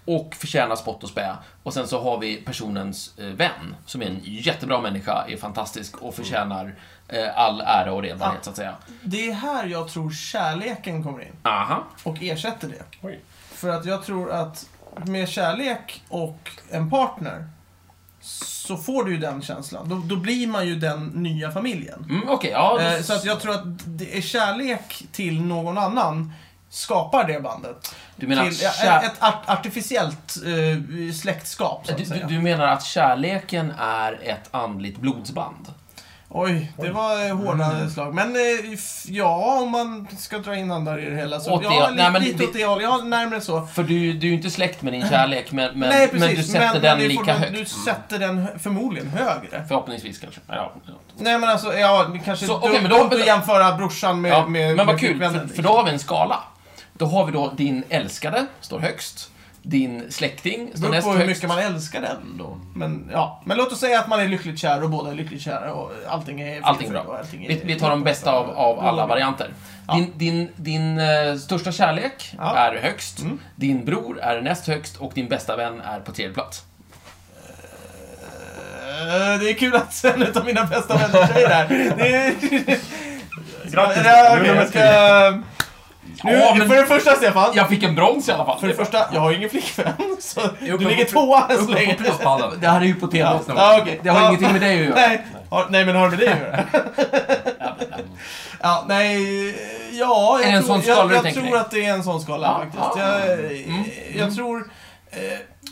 Speaker 4: Och förtjänar spott och spä. Och sen så har vi personens eh, vän, som är en jättebra människa, är fantastisk och förtjänar eh, all ära och redbarhet,
Speaker 1: Ja.
Speaker 4: så att säga.
Speaker 1: Det är här jag tror kärleken kommer in
Speaker 4: Aha.
Speaker 1: och ersätter det.
Speaker 3: Oj.
Speaker 1: För att jag tror att med kärlek och en partner så får du ju den känslan. Då, då blir man ju den nya familjen.
Speaker 4: Mm, Okej, ja.
Speaker 1: Eh, Så att jag tror att det är kärlek till någon annan skapar det bandet.
Speaker 4: Du menar
Speaker 1: till,
Speaker 4: att
Speaker 1: ja,
Speaker 4: kär-
Speaker 1: ett art- artificiellt eh, släktskap, så att
Speaker 4: Du, du,
Speaker 1: säga.
Speaker 4: du menar att kärleken är ett andligt blodsband?
Speaker 1: Oj, det var eh, hårda
Speaker 4: Mm.
Speaker 1: slag. Men eh, f- ja, om man ska dra in andra i det hela så...
Speaker 4: Åt det
Speaker 1: ja,
Speaker 4: håll-
Speaker 1: lite,
Speaker 4: nej, men
Speaker 1: lite
Speaker 4: det-
Speaker 1: åt det hållet. Ja, närmare så.
Speaker 4: För du, du är ju inte släkt med din kärlek, men, men,
Speaker 1: Nej, precis.
Speaker 4: men du sätter den
Speaker 1: det är
Speaker 4: lika
Speaker 1: fortfarande-
Speaker 4: högt.
Speaker 1: Du sätter den hö- förmodligen högre.
Speaker 4: Förhoppningsvis kanske. Ja, ja.
Speaker 1: Nej men alltså, ja, det kanske
Speaker 4: Så,
Speaker 1: så,
Speaker 4: okej, men
Speaker 1: men
Speaker 4: då-
Speaker 1: då, dumt att jämföra brorsan med,
Speaker 4: ja,
Speaker 1: med
Speaker 4: men vad
Speaker 1: med
Speaker 4: kul, för,
Speaker 1: flickvännen.
Speaker 4: för då har vi en skala. Då har vi då din älskade, står högst. Din släkting
Speaker 1: Det
Speaker 4: står
Speaker 1: beror
Speaker 4: näst
Speaker 1: på hur
Speaker 4: högst.
Speaker 1: mycket man älskar den då. Men, ja. men låt oss säga att man är lyckligt kär och båda är lyckligt kära och allting är
Speaker 4: Allting är
Speaker 1: frid och
Speaker 4: bra.
Speaker 1: allting är-
Speaker 4: Vi, vi tar de bästa av, av alla varianter.
Speaker 1: Ja.
Speaker 4: Din, din, din eh, största kärlek
Speaker 1: Ja. Mm.
Speaker 4: är högst, din bror är näst högst och din bästa vän är på tredje plats.
Speaker 1: Eh, Det är kul att en utav mina bästa vänner säger det här. Det är...
Speaker 3: Grattis!
Speaker 1: Ja, okej,
Speaker 3: Nu är nummer
Speaker 1: jag ska...
Speaker 3: tre.
Speaker 1: Nu,
Speaker 4: Ja, men-
Speaker 1: För det första Stefan,
Speaker 4: Jag fick en brons i alla fall.
Speaker 1: för det första, jag har ju ingen flickvän. Så
Speaker 2: men-
Speaker 1: du ligger tvåa än så länge.
Speaker 2: prispallen.
Speaker 4: Det här är hypotetiskt.
Speaker 1: Ja, ja, okej.
Speaker 4: Det har
Speaker 1: Ja.
Speaker 4: ingenting med dig att göra.
Speaker 1: Nej, har, nej men har det med det att göra?
Speaker 4: [laughs]
Speaker 1: ja, nej, ja,
Speaker 4: Är
Speaker 1: jag,
Speaker 4: det en
Speaker 1: tror,
Speaker 4: sån skala du
Speaker 1: jag, jag
Speaker 4: tänker
Speaker 1: tror
Speaker 4: dig?
Speaker 1: att det är en sån skala
Speaker 4: Ja, Mm.
Speaker 1: faktiskt.
Speaker 4: ja.
Speaker 1: Jag, jag tror... [laughs] Eh,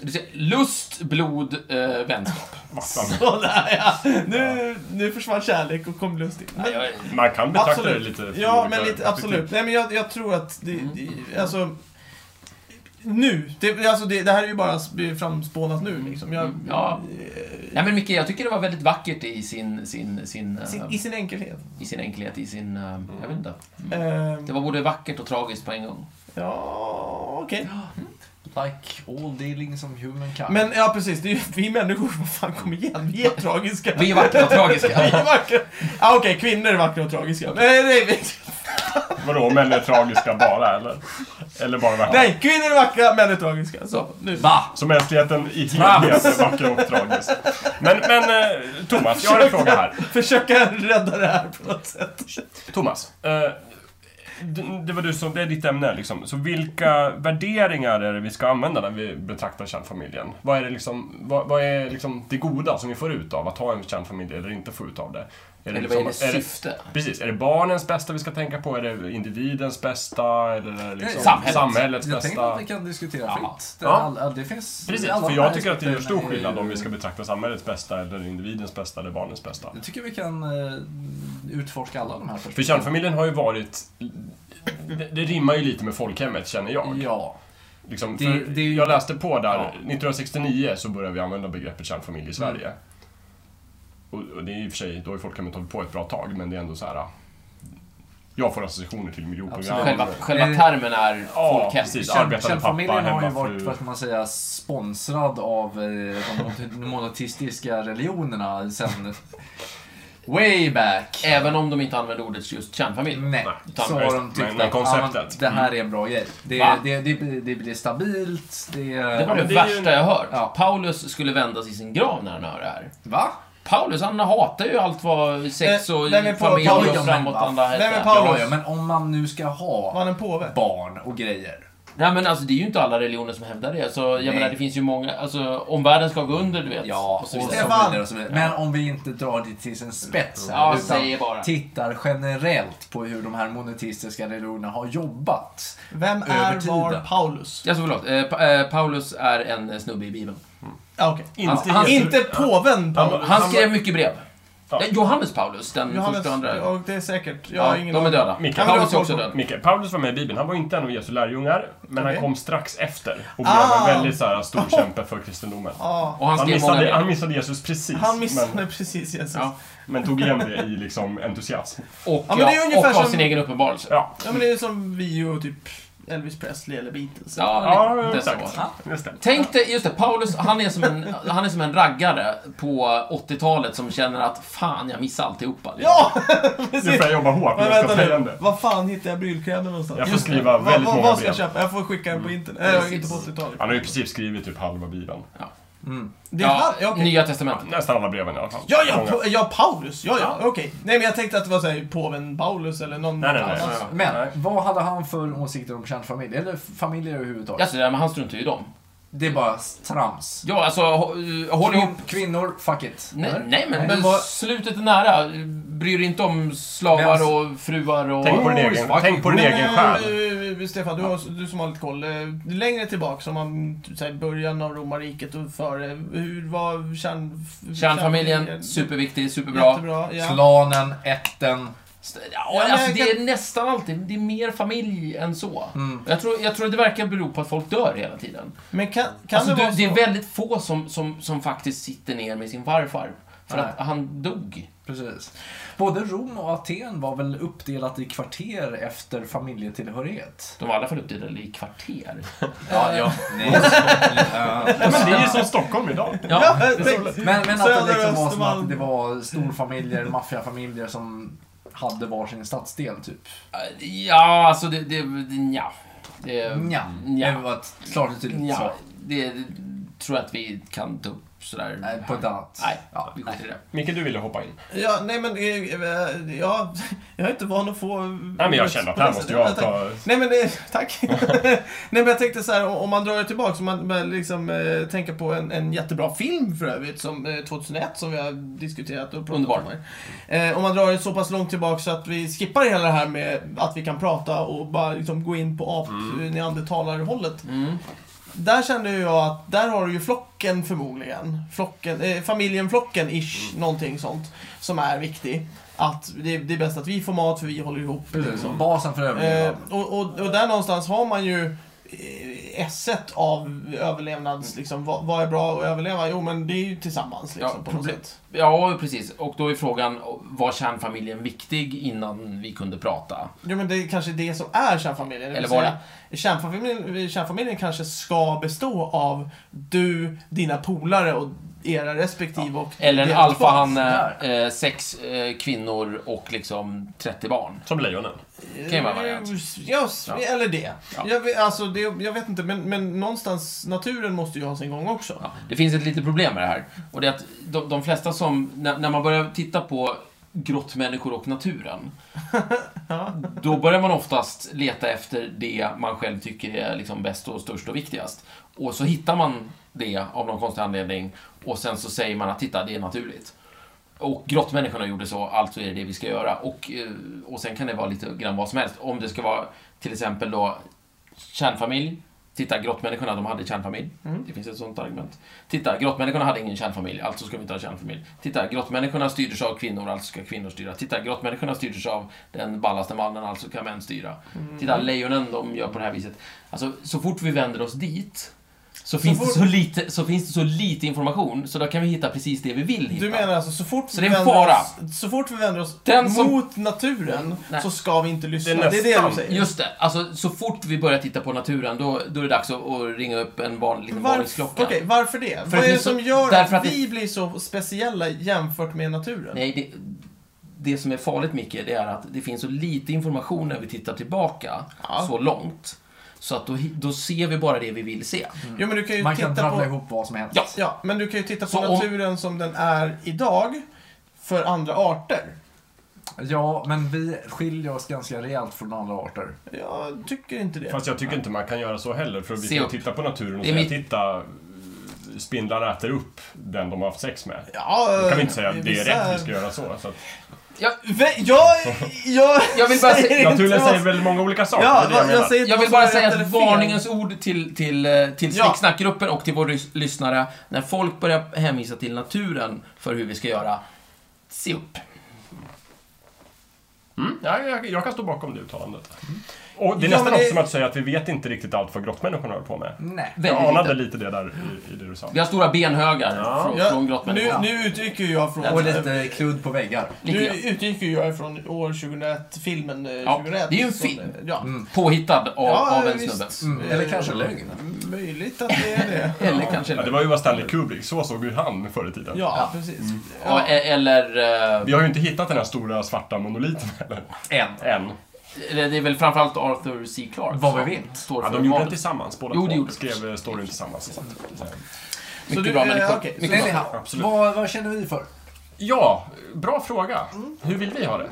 Speaker 4: Du ser, Lust, blod, eh, vänskap.
Speaker 3: Massan.
Speaker 1: sådär ja. Nu, nu försvann kärlek och kom lust in. Men-
Speaker 4: Nej, jag-
Speaker 3: Man kan betrakta det lite från
Speaker 1: Ja,
Speaker 3: olika
Speaker 1: men lite,
Speaker 3: perspektiv.
Speaker 1: absolut. Nej, men jag, jag tror att det,
Speaker 4: Mm.
Speaker 1: det, alltså, nu, det, alltså det, det här är ju bara framspånat nu liksom. Jag,
Speaker 4: Ja. Nej men Micke, jag tycker det var väldigt vackert i sin, sin, sin, eh,
Speaker 1: sin, I sin enkelhet.
Speaker 4: i sin enkelhet, i sin, eh, jag vet inte.
Speaker 1: Eh,
Speaker 4: Det var både vackert och tragiskt på en gång.
Speaker 1: ja, okej.
Speaker 2: Like all dealing som humankind.
Speaker 1: Men ja, precis. Det är ju vi människor. Vad fan, kom igen. Vi är tragiska.
Speaker 4: Vi är vackra
Speaker 1: [laughs]
Speaker 4: och
Speaker 1: Vi är
Speaker 4: tragiska.
Speaker 1: vackra. Ah, Okej, kvinnor är vackra och tragiska. eh, Nej, nej,
Speaker 3: Vadå, män är tragiska bara eller? Eller bara vackra?
Speaker 1: nej, kvinnor är vackra, män är tragiska. Så, nu.
Speaker 2: Va?
Speaker 3: Så mänskligheten i helhet är vacker och tragisk. Men, men eh, Thomas, jag har en fråga här.
Speaker 1: [laughs] Försöka rädda det här på något sätt.
Speaker 3: Thomas, eh, det, det var du som, det är ditt ämne liksom. Så vilka värderingar är det vi ska använda när vi betraktar kärnfamiljen? Vad är det liksom, vad, vad är liksom det goda som vi får ut av att ha en kärnfamilj eller inte få ut av det? Är
Speaker 4: Eller vad
Speaker 3: liksom-
Speaker 4: är det syfte?
Speaker 3: Precis, är det barnens bästa vi ska tänka på? Är det individens bästa? Eller är det liksom
Speaker 4: Samhället.
Speaker 3: samhällets
Speaker 2: Jag tänker
Speaker 3: bästa?
Speaker 2: att vi kan diskutera
Speaker 4: Ja.
Speaker 2: fritt. Det,
Speaker 3: Ja.
Speaker 2: all, det finns
Speaker 3: Precis,
Speaker 2: alla
Speaker 3: för
Speaker 2: de här
Speaker 3: jag tycker att det gör stor
Speaker 2: aspekterna är
Speaker 3: skillnad
Speaker 2: ju-
Speaker 3: om vi ska betrakta samhällets bästa eller individens bästa eller barnens bästa.
Speaker 2: Jag tycker vi kan eh, utforska alla de här
Speaker 3: För kärnfamiljen har ju varit... Det, det rimmar ju lite med folkhemmet, känner jag.
Speaker 2: Ja.
Speaker 3: Liksom,
Speaker 2: Det-
Speaker 3: för
Speaker 2: det är ju-
Speaker 3: Jag läste på där,
Speaker 2: Ja. Mm.
Speaker 3: 1969 så började vi använda begreppet kärnfamilj i Sverige. Och, och det är i och för sig, då har ju folkhemmet hållit på ett bra tag, men det är ändå så här... ah, Jag får associationer till miljonprogram.
Speaker 2: Absolut.
Speaker 4: Själva, själva
Speaker 2: Eh,
Speaker 4: termen är
Speaker 3: ja,
Speaker 4: folkhem.
Speaker 3: precis.
Speaker 2: Kärn-
Speaker 3: Arbetande pappa,
Speaker 2: Kärnfamiljen har ju
Speaker 3: hemmafru.
Speaker 2: varit, vad ska man säga, sponsrad av eh, de monoteistiska religionerna
Speaker 3: [laughs]
Speaker 2: sen way back.
Speaker 4: Även om de inte använder ordet just kärnfamilj.
Speaker 2: Nej,
Speaker 4: utan-
Speaker 2: så har de tyckt
Speaker 3: Men- men
Speaker 2: att ja, men
Speaker 3: konceptet. Mm.
Speaker 2: det här är en bra grej. Det,
Speaker 4: Va?
Speaker 2: det, det, blir- det blir stabilt, det...
Speaker 4: Det var det,
Speaker 3: men det är ju-
Speaker 4: värsta jag hört.
Speaker 2: Ja.
Speaker 4: Paulus skulle vändas i sin grav när han hör det här.
Speaker 2: Va?
Speaker 4: Paulus, han hatar ju allt vad sex
Speaker 1: Eh,
Speaker 4: och
Speaker 1: nej, men
Speaker 4: familj
Speaker 1: Paulus-
Speaker 4: och framåtanda
Speaker 1: Nej, men
Speaker 4: hette.
Speaker 1: Paulus-
Speaker 2: Ja, ja, men om man nu ska
Speaker 1: Var
Speaker 2: ha
Speaker 1: han en påve?
Speaker 2: barn och grejer.
Speaker 4: Nej, men alltså det är ju inte alla religioner som hävdar det. Så jag
Speaker 2: Nej.
Speaker 4: menar, det finns ju många, alltså om världen ska gå under, du vet.
Speaker 2: Ja, och
Speaker 4: och
Speaker 2: så
Speaker 4: så vidare.
Speaker 1: Stefan!
Speaker 2: vidare. Och så vidare. Men om vi inte drar det till sin spets här,
Speaker 4: Ja,
Speaker 2: utan
Speaker 4: säg bara.
Speaker 2: tittar generellt på hur de här monoteistiska religionerna har jobbat.
Speaker 1: Vem
Speaker 2: Över
Speaker 1: är var
Speaker 2: tiden.
Speaker 1: Paulus?
Speaker 4: Alltså förlåt, eh, Pa- eh, Paulus är en eh, snubbe i Bibeln.
Speaker 1: Ja, okej.
Speaker 3: Inte,
Speaker 4: Han-
Speaker 3: Jesu-
Speaker 1: Inte påven Paulus.
Speaker 4: Han skrev mycket brev.
Speaker 3: Ja.
Speaker 4: Nej, Johannes Paulus, den
Speaker 1: Johannes,
Speaker 4: första och andra.
Speaker 1: ja, det är säkert. Jag har
Speaker 4: Ja,
Speaker 1: ingen
Speaker 4: de är
Speaker 1: aning.
Speaker 4: döda.
Speaker 3: Mikael.
Speaker 4: Paulus
Speaker 1: Ja,
Speaker 4: är
Speaker 1: men
Speaker 4: också
Speaker 1: det var
Speaker 4: död.
Speaker 3: Mikael, Paulus var med i Bibeln. Han var inte en av Jesu lärjungar, men
Speaker 1: Okej.
Speaker 3: han kom strax efter och blev
Speaker 1: Ah.
Speaker 3: en väldigt så
Speaker 2: [laughs]
Speaker 3: här, stor kämpe för kristendomen.
Speaker 1: Ja.
Speaker 4: Och han
Speaker 3: Han
Speaker 4: skrev många
Speaker 3: missade,
Speaker 4: brev.
Speaker 3: han missade Jesus precis,
Speaker 1: Han missade
Speaker 3: men,
Speaker 1: precis Jesus. Ja.
Speaker 4: Ja.
Speaker 3: men tog igen det i liksom entusiasm.
Speaker 4: Och,
Speaker 1: Ja, men det är
Speaker 4: ja,
Speaker 1: ungefär
Speaker 4: och av
Speaker 1: som-
Speaker 4: sin egen uppenbarelse.
Speaker 3: Ja,
Speaker 1: men det är som vi och typ Elvis Presley eller Beatles.
Speaker 4: Ja,
Speaker 3: ja
Speaker 4: det är så.
Speaker 3: exakt. Just det.
Speaker 4: Tänk dig, just det, Paulus, han är som en, han är som en raggare på 80-talet som känner att fan, jag missar alltihopa.
Speaker 1: Ja! [laughs]
Speaker 3: Nu får jag jobba hårt
Speaker 1: Men
Speaker 3: med jag
Speaker 1: vänta
Speaker 3: ska säga
Speaker 1: nu,
Speaker 3: det.
Speaker 1: vad fan hittar jag brylkrämen någonstans?
Speaker 3: Jag får skriva
Speaker 1: Vad,
Speaker 3: väldigt
Speaker 1: vad,
Speaker 3: många
Speaker 1: vad ska jag
Speaker 3: brev. Mm.
Speaker 1: köpa? Jag får skicka den på internet. Äh, jag
Speaker 4: Precis.
Speaker 1: hittar på 80-talet.
Speaker 3: Han har ju i princip skrivit typ halva Bibeln.
Speaker 1: Det är
Speaker 4: Ja,
Speaker 1: han, ja, okej.
Speaker 4: Nya Testamentet.
Speaker 3: Nästan alla breven i alla fall.
Speaker 1: Ja, ja,
Speaker 3: Många.
Speaker 1: pa- ja, Paulus. Ja, ja, okej. Nej, men jag tänkte att det var såhär påven Paulus eller någon
Speaker 3: Nej, nej, nej.
Speaker 1: annan.
Speaker 3: Ja,
Speaker 2: Men
Speaker 3: Nej.
Speaker 2: vad hade han för åsikter om kärnfamilj? Eller familjer överhuvudtaget?
Speaker 4: Alltså, ja, men han struntar ju i dem.
Speaker 2: Det är bara trams.
Speaker 4: Ja, alltså, hå- eh, håll ihop.
Speaker 2: Kvin- Kvinnor, fuck it.
Speaker 4: Nej,
Speaker 2: Eller?
Speaker 4: nej men, men
Speaker 2: vad-
Speaker 4: slutet är nära. Bryr dig inte om
Speaker 2: Men
Speaker 4: slavar
Speaker 2: alltså-
Speaker 4: och fruar och...
Speaker 3: Tänk på din egen, tänk på din
Speaker 1: Men,
Speaker 3: egen
Speaker 1: eh,
Speaker 3: själ.
Speaker 1: eh, Stefan, du, har, du som har lite koll. eh, Längre tillbaka, som man, så här, början av romarriket och före. Hur var kärn,
Speaker 4: Kärnfamiljen, superviktig, superbra.
Speaker 1: Jättebra, ja.
Speaker 2: Klanen, ätten.
Speaker 4: Ja,
Speaker 1: men
Speaker 4: alltså,
Speaker 1: jag
Speaker 4: det
Speaker 1: kan-
Speaker 4: är nästan alltid, det är mer familj än så.
Speaker 2: Mm.
Speaker 4: Jag tror, jag tror det verkar bero på att folk dör hela tiden.
Speaker 1: Men kan, kan
Speaker 4: Alltså,
Speaker 1: det
Speaker 4: du,
Speaker 1: vara
Speaker 4: det
Speaker 1: så?
Speaker 4: är väldigt få som, som, som faktiskt sitter ner med sin farfar. För
Speaker 2: Nej.
Speaker 4: att han dog.
Speaker 2: Precis. Både Rom och Aten var väl uppdelat i kvarter efter familjetillhörighet?
Speaker 4: De var i alla fall uppdelade i kvarter.
Speaker 2: Ja, ja. Nej. [laughs]
Speaker 3: Men det är ju som Stockholm idag.
Speaker 1: Ja, [laughs]
Speaker 4: Ja,
Speaker 1: eh, tänk-
Speaker 2: Men, men att
Speaker 1: Söder,
Speaker 2: det liksom var som
Speaker 1: Östermalm.
Speaker 2: att det var storfamiljer, maffiafamiljer som hade varsin stadsdel, typ.
Speaker 4: ja alltså det... det, det ja. Det,
Speaker 2: Nja.
Speaker 4: Nja.
Speaker 2: Det var ett klart och tydligt svar.
Speaker 4: ja. Det, det tror jag att vi kan ta upp sådär.
Speaker 2: Nej, på ett annat.
Speaker 4: Nej,
Speaker 2: Ja,
Speaker 4: vi skiter i det.
Speaker 3: Micke, du ville hoppa in.
Speaker 1: Ja, nej men eh, eh, ja, [laughs] jag är inte van att få... Nej
Speaker 3: men jag känner att här måste jag ta-
Speaker 1: Nej men eh, [laughs] tack. nej men jag tänkte så här, om man drar det tillbaka så man börjar liksom eh, tänka på en, en jättebra film för övrigt, som eh, 2001 som vi har diskuterat och pratat
Speaker 4: Underbar.
Speaker 1: om. här. Eh, om man drar det så pass långt tillbaka så att vi skippar hela det här med att vi kan prata och bara liksom gå in på
Speaker 3: Mm.
Speaker 1: ap-neandertalare-hållet.
Speaker 4: Mm.
Speaker 1: Där kände jag att där har du ju flocken förmodligen. Flocken, eh, familjen Flocken-ish,
Speaker 4: Mm.
Speaker 1: någonting sånt. Som är viktig. Att det, det är bäst att vi får mat för vi håller ihop.
Speaker 2: Precis.
Speaker 1: Liksom.
Speaker 2: Basen för
Speaker 4: Mm.
Speaker 1: Eh,
Speaker 2: överlevnad.
Speaker 1: och, och, och där någonstans har man ju eh, esset av överlevnads... Liksom, vad, vad är bra att överleva? Jo, men det är ju tillsammans liksom,
Speaker 4: Ja,
Speaker 1: på något
Speaker 4: problem-
Speaker 1: sätt.
Speaker 4: Ja, precis. Och då är frågan, var kärnfamiljen viktig innan vi kunde prata?
Speaker 1: Jo, men det är kanske det som är kärnfamiljen. det vill
Speaker 4: Eller var
Speaker 1: säga, Kärnfamiljen, kärnfamiljen kanske ska bestå av du, dina polare och era respektive och...
Speaker 4: Eller en
Speaker 1: deras barn.
Speaker 4: alfahanne, eh, sex eh, kvinnor och liksom 30 barn.
Speaker 3: Som lejonen.
Speaker 4: kan ju vara en variant.
Speaker 1: Ja,
Speaker 4: Ja.
Speaker 1: eller det.
Speaker 4: Ja.
Speaker 1: Jag, vet- alltså, det. jag vet inte, men, men någonstans, naturen måste ju ha sin gång också.
Speaker 4: Ja, det finns ett litet problem med det här. Och det är att de, de flesta som, när, när man börjar titta på grottmänniskor och naturen, då börjar man oftast leta efter det man själv tycker är liksom bäst och störst och viktigast. Och så hittar man det av någon konstig anledning och sen så säger man att titta, det är naturligt. Och grottmänniskorna gjorde så, alltså är det det vi ska göra. Och, eh, och sen kan det vara lite grann vad som helst. Om det ska vara till exempel då kärnfamilj. Titta, grottmänniskorna, de hade kärnfamilj.
Speaker 1: Mm.
Speaker 4: Det finns ett sånt argument. Titta, grottmänniskorna hade ingen kärnfamilj, alltså ska vi inte ha kärnfamilj. Titta, grottmänniskorna styrdes av kvinnor, alltså ska kvinnor styra. Titta, grottmänniskorna styrdes av den ballaste mannen, alltså kan män styra.
Speaker 1: Mm.
Speaker 4: Titta, lejonen, de gör på det här viset. Alltså, så fort vi vänder oss dit så, finns,
Speaker 1: fort-
Speaker 4: det så, lite, så finns det så lite information, så då kan vi hitta precis det vi vill hitta.
Speaker 1: Du menar alltså, så fort,
Speaker 4: Så det är en
Speaker 1: vi vänder
Speaker 4: fara.
Speaker 1: Oss, så fort vi vänder oss
Speaker 4: Den som-
Speaker 1: mot naturen
Speaker 4: Nej.
Speaker 1: så ska vi inte lyssna.
Speaker 3: Det
Speaker 1: Det
Speaker 3: är
Speaker 1: är, det du
Speaker 3: nästan-
Speaker 1: säger.
Speaker 4: Just det, alltså så fort vi börjar titta på naturen då, då är det dags att, att ringa upp en van, liten
Speaker 1: varför,
Speaker 4: varningsklocka.
Speaker 1: okej, varför det?
Speaker 4: att
Speaker 1: Vad är
Speaker 4: vi
Speaker 1: det
Speaker 4: så-
Speaker 1: som gör att,
Speaker 4: därför att
Speaker 1: vi blir så speciella jämfört med naturen?
Speaker 4: Nej, det, det som är farligt Micke, det är att det finns så lite information när vi tittar tillbaka
Speaker 1: Ja.
Speaker 4: så långt. Så att då, hi- då ser vi bara det vi vill se.
Speaker 1: Jo, men du kan ju
Speaker 2: Man kan
Speaker 1: titta på...
Speaker 2: drabbla ihop vad som helst.
Speaker 4: Ja.
Speaker 1: Ja, men du kan ju titta på
Speaker 4: Så om-
Speaker 1: naturen som den är idag för andra arter.
Speaker 2: Ja, men vi skiljer oss ganska rejält från andra arter.
Speaker 1: Jag tycker inte det.
Speaker 3: Fast jag tycker inte man kan göra så heller. För vi
Speaker 4: Se
Speaker 3: ska
Speaker 4: upp.
Speaker 3: titta på naturen och
Speaker 4: Det är
Speaker 3: säga
Speaker 4: mitt-
Speaker 3: titta, spindlar äter upp den de har haft sex med.
Speaker 1: Ja, eh,
Speaker 3: Då kan vi inte säga att det är
Speaker 1: vissa-
Speaker 3: rätt vi ska göra så. så att,
Speaker 4: Jag,
Speaker 1: Vä- Jag, jag,
Speaker 4: Jag vill bara
Speaker 1: säger
Speaker 4: säga-
Speaker 1: inte
Speaker 3: naturen
Speaker 1: vad-
Speaker 3: säger väldigt många olika saker.
Speaker 1: Ja,
Speaker 3: det är
Speaker 1: jag,
Speaker 3: det jag menar.
Speaker 1: säger inte
Speaker 4: jag
Speaker 1: vad
Speaker 4: vill
Speaker 1: som
Speaker 4: bara
Speaker 1: är
Speaker 4: säga
Speaker 1: rätt
Speaker 4: ett
Speaker 1: eller fel.
Speaker 4: varningens ord till, till, eh, till
Speaker 1: Ja.
Speaker 4: Snicksnackgruppen och till vår lys- lyssnare. När folk börjar hänvisa till naturen för hur vi ska göra, se upp.
Speaker 3: Mm, ja, jag, jag kan stå bakom det uttalandet. Och det är
Speaker 1: Ja, men
Speaker 3: nästan
Speaker 1: det- Mm.
Speaker 3: också som att säga att vi vet inte riktigt allt vad grottmänniskorna håller på med.
Speaker 2: Nej.
Speaker 4: Väldigt
Speaker 3: Jag anade
Speaker 4: lite.
Speaker 3: lite det där i, i det du sa.
Speaker 4: Vi har stora benhögar
Speaker 3: Ja.
Speaker 4: från,
Speaker 1: Ja,
Speaker 4: från
Speaker 1: nu,
Speaker 4: grottmänniskorna.
Speaker 1: nu utgick ju jag från...
Speaker 2: Och lite kludd på väggar.
Speaker 4: Lite
Speaker 1: Nu
Speaker 4: grann.
Speaker 1: utgick ju jag från år 2001, filmen eh,
Speaker 4: Ja,
Speaker 1: 2001.
Speaker 4: det är ju en
Speaker 1: som-
Speaker 4: film. Mm.
Speaker 1: Ja.
Speaker 4: Påhittad av,
Speaker 1: Ja,
Speaker 4: av en
Speaker 1: visst.
Speaker 4: snubbe.
Speaker 2: Mm.
Speaker 1: Eh,
Speaker 2: Eller kanske lögn.
Speaker 1: Möjligt att det är det.
Speaker 4: Eller kanske
Speaker 3: Ja, det var ju vad Stanley Kubrick, så såg ju han förr i tiden.
Speaker 1: Ja, precis.
Speaker 4: Ja,
Speaker 1: Ja.
Speaker 4: e- eller... eh,
Speaker 3: Vi har ju inte hittat den här stora svarta monoliten [laughs] heller.
Speaker 2: En.
Speaker 3: Än.
Speaker 4: Eller det är väl framförallt Arthur C. Clarke
Speaker 2: Vad vi
Speaker 4: som
Speaker 2: vet.
Speaker 4: Står
Speaker 3: Ja,
Speaker 4: för
Speaker 3: de gjorde den
Speaker 4: Marvel.
Speaker 3: tillsammans, båda
Speaker 4: Jo,
Speaker 3: två.
Speaker 4: det gjorde de.
Speaker 3: skrev eh, storyn tillsammans. Så att, eh, så här.
Speaker 1: Så
Speaker 4: Mycket
Speaker 1: du-
Speaker 4: bra
Speaker 1: eh,
Speaker 4: människor.
Speaker 1: okej, så-
Speaker 4: Mycket bra.
Speaker 2: Anyhow,
Speaker 3: Absolut.
Speaker 2: vad, vad känner vi för?
Speaker 3: Ja, bra fråga. Hur vill vi ha det?